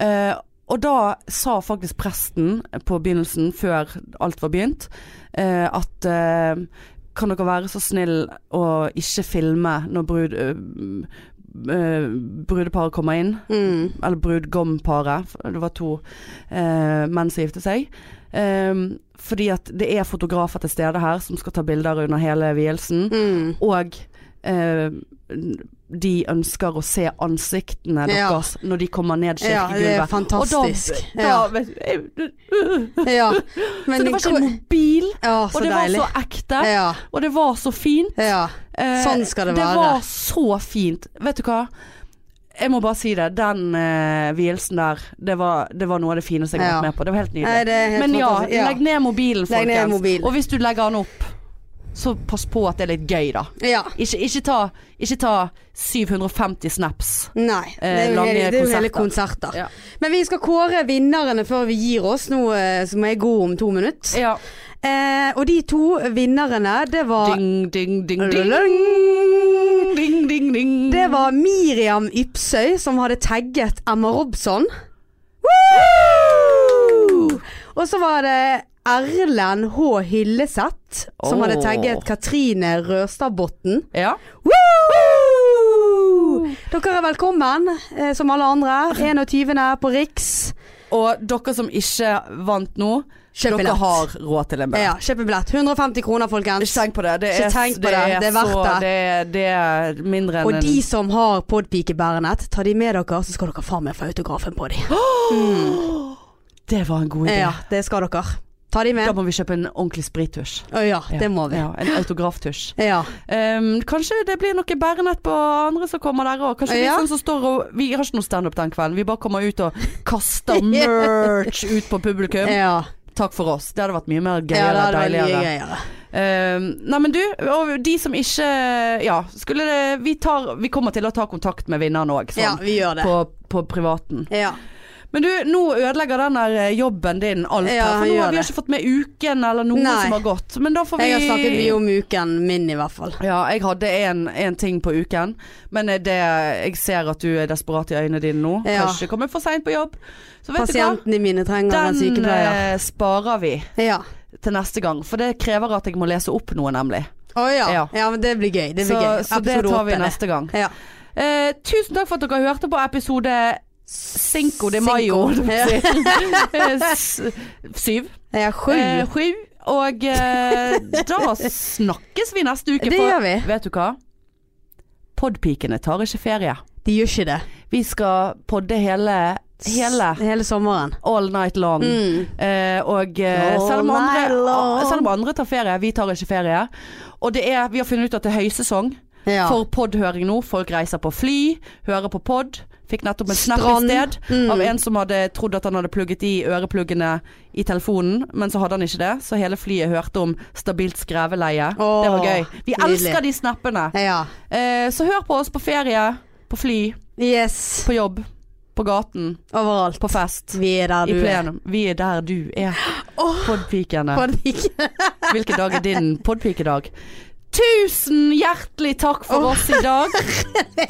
Speaker 2: Eh, og da sa faktisk presten på begynnelsen, før alt var begynt, eh, at eh, kan dere være så snill å ikke filme når brud, eh, eh, brudeparet kommer inn,
Speaker 1: Mm.
Speaker 2: eller brudgomparet, for det var to eh, menn som giftet seg. Ehm, fordi at det er fotografer til stede her som skal ta bilder under hele vielsen.
Speaker 1: Mm.
Speaker 2: Og eh, de ønsker å se ansiktene
Speaker 1: Ja.
Speaker 2: deres når de kommer ned
Speaker 1: Ja, det er
Speaker 2: kirkegulvet.
Speaker 1: fantastisk.
Speaker 2: Og da, da
Speaker 1: Ja.
Speaker 2: vet, jeg- <laughs>
Speaker 1: Ja. Men
Speaker 2: Så det var ikke en mobil,
Speaker 1: Ja, så
Speaker 2: og det
Speaker 1: deilig.
Speaker 2: var så ekte,
Speaker 1: Ja,
Speaker 2: og det var så fint.
Speaker 1: ja.
Speaker 2: Eh,
Speaker 1: Sånn skal det være.
Speaker 2: Det var så fint. Vet du hva? Jeg må bare si det. Den eh, vielsen der, det var, det var noe av det fineste jeg har
Speaker 1: Ja.
Speaker 2: vært med på. Det var helt nydelig.
Speaker 1: Nei, det er helt
Speaker 2: Men ja,
Speaker 1: fantastisk. Ja.
Speaker 2: legg ned mobilen,
Speaker 1: Legg
Speaker 2: folkens.
Speaker 1: ned mobilen.
Speaker 2: Og hvis du legger den opp, så pass på at det er litt gøy, da.
Speaker 1: ja.
Speaker 2: Ikke, ikke, ta, ikke ta 750 snaps.
Speaker 1: Nei. Det er
Speaker 2: Eh,
Speaker 1: jo
Speaker 2: lange
Speaker 1: hele, det er jo hele
Speaker 2: konserter.
Speaker 1: konserter.
Speaker 2: Ja.
Speaker 1: Men vi skal kåre vinnerne før vi gir oss, nå eh, som er god om to minutter.
Speaker 2: Ja.
Speaker 1: Eh, og de to vinnerne, det var
Speaker 2: Ding, ding, ding, ding.
Speaker 1: Lulung.
Speaker 2: Ding, ding, ding.
Speaker 1: Det var Miriam Ypsøy som hadde tagget Emma Robson. Og så var det Erlend H. Hilleseth som
Speaker 2: Åh.
Speaker 1: hadde tagget Katrine Rørstadbotn.
Speaker 2: Ja.
Speaker 1: Dere er velkommen, eh, som alle andre.
Speaker 2: <clears throat>
Speaker 1: 21. på Riks.
Speaker 2: Og dere som ikke vant nå,
Speaker 1: Kjøp
Speaker 2: dere
Speaker 1: billett.
Speaker 2: har råd til en billett.
Speaker 1: Ja, kjøp en billett. 150 kroner, folkens.
Speaker 2: Ikke tenk på det. Det
Speaker 1: Ikke
Speaker 2: er,
Speaker 1: tenk på det. Det er verdt
Speaker 2: så,
Speaker 1: det.
Speaker 2: det. er- Det er mindre enn
Speaker 1: Og
Speaker 2: en
Speaker 1: de som har podpikebærenett, ta de med dere, så skal dere faen meg få autografen
Speaker 2: <gasps>
Speaker 1: på de.
Speaker 2: Det var en god idé.
Speaker 1: Ja, det skal dere. Ta de
Speaker 2: Da
Speaker 1: med.
Speaker 2: må vi kjøpe en ordentlig sprittusj.
Speaker 1: Å ja, det må vi.
Speaker 2: Ja, en
Speaker 1: <laughs>
Speaker 2: autograftusj.
Speaker 1: Ja.
Speaker 2: Ehm, kanskje det blir noe bærenett på andre som kommer der òg. Kanskje
Speaker 1: Ja.
Speaker 2: vi sånn som står og Vi har ikke noe standup den kvelden. Vi bare kommer ut
Speaker 1: <laughs>
Speaker 2: og kaster merch ut på publikum.
Speaker 1: Ja,
Speaker 2: Takk for oss. Um, Det hadde vært mye mer
Speaker 1: ja det
Speaker 2: gøyere og
Speaker 1: hadde vært mye
Speaker 2: deiligere.
Speaker 1: greiere.
Speaker 2: Ehm, nei, men du, og de som ikke Ja, skulle det Vi, tar, vi kommer til å ta kontakt med vinneren òg, sånn.
Speaker 1: Ja, vi gjør det.
Speaker 2: På, på privaten.
Speaker 1: Ja.
Speaker 2: Men du, nå ødelegger den der eh, jobben din alt
Speaker 1: Ja,
Speaker 2: her. For nå
Speaker 1: gjør
Speaker 2: har vi
Speaker 1: det.
Speaker 2: ikke fått med uken eller noe
Speaker 1: Nei.
Speaker 2: som har gått. Men da får vi
Speaker 1: Jeg har snakket mye om uken min, i hvert fall.
Speaker 2: Ja, jeg hadde en, en ting på uken, men eh, det, jeg ser at du er desperat i øynene dine nå.
Speaker 1: Ja.
Speaker 2: Kanskje kommer for seint på jobb. Så vet
Speaker 1: Pasientene mine
Speaker 2: du
Speaker 1: trenger
Speaker 2: hva,
Speaker 1: en
Speaker 2: den
Speaker 1: sykepleier.
Speaker 2: eh, sparer vi
Speaker 1: Ja.
Speaker 2: til neste gang. For det krever at jeg må lese opp noe, nemlig.
Speaker 1: Å ja.
Speaker 2: Ja.
Speaker 1: ja, men det blir gøy. Det blir
Speaker 2: så
Speaker 1: gøy.
Speaker 2: så det
Speaker 1: Episode
Speaker 2: tar vi
Speaker 1: åtte, det.
Speaker 2: neste gang.
Speaker 1: Ja.
Speaker 2: Eh, tusen takk for at dere hørte på episode
Speaker 1: <laughs>
Speaker 2: <laughs> Cinco de Mayo.
Speaker 1: Cinco.
Speaker 2: Eh, s- Syv.
Speaker 1: Ja, sju.
Speaker 2: Eh, sju. Og eh, da snakkes vi neste
Speaker 1: <laughs>
Speaker 2: uke.
Speaker 1: Det
Speaker 2: for-
Speaker 1: gjør vi.
Speaker 2: Vet du hva? Podpikene tar ikke ferie.
Speaker 1: De gjør ikke det.
Speaker 2: Vi skal podde hele, hele
Speaker 1: Hele sommeren.
Speaker 2: all night long.
Speaker 1: Mm.
Speaker 2: Eh, og eh,
Speaker 1: All
Speaker 2: selv, om
Speaker 1: night long.
Speaker 2: andre, selv om andre tar ferie, vi tar ikke ferie. Og det er, vi har funnet ut at det er høysesong
Speaker 1: Ja.
Speaker 2: for podhøring nå. Folk reiser på fly, hører på pod. Fikk nettopp en snap i
Speaker 1: Strand.
Speaker 2: sted
Speaker 1: Mm.
Speaker 2: av en som hadde trodd at han hadde plugget i ørepluggene i telefonen, men så hadde han ikke det. Så hele flyet hørte om stabilt skreveleie.
Speaker 1: Åh,
Speaker 2: det var gøy. Vi
Speaker 1: nydelig.
Speaker 2: elsker de snappene.
Speaker 1: ja.
Speaker 2: Eh, så hør på oss på ferie, på fly,
Speaker 1: Yes.
Speaker 2: på jobb, på gaten,
Speaker 1: Overalt.
Speaker 2: på fest,
Speaker 1: Vi er der
Speaker 2: i
Speaker 1: du er.
Speaker 2: plenum. Vi er der du er. Podpikene.
Speaker 1: Podpike.
Speaker 2: Hvilken dag er din podpikedag? Tusen hjertelig takk for oss i dag.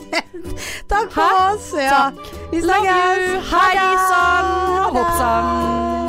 Speaker 1: <laughs> Takk for oss. Ja.
Speaker 2: Takk.
Speaker 1: Vi
Speaker 2: Love
Speaker 1: snakkes.
Speaker 2: you. Hei sann og hopp sann.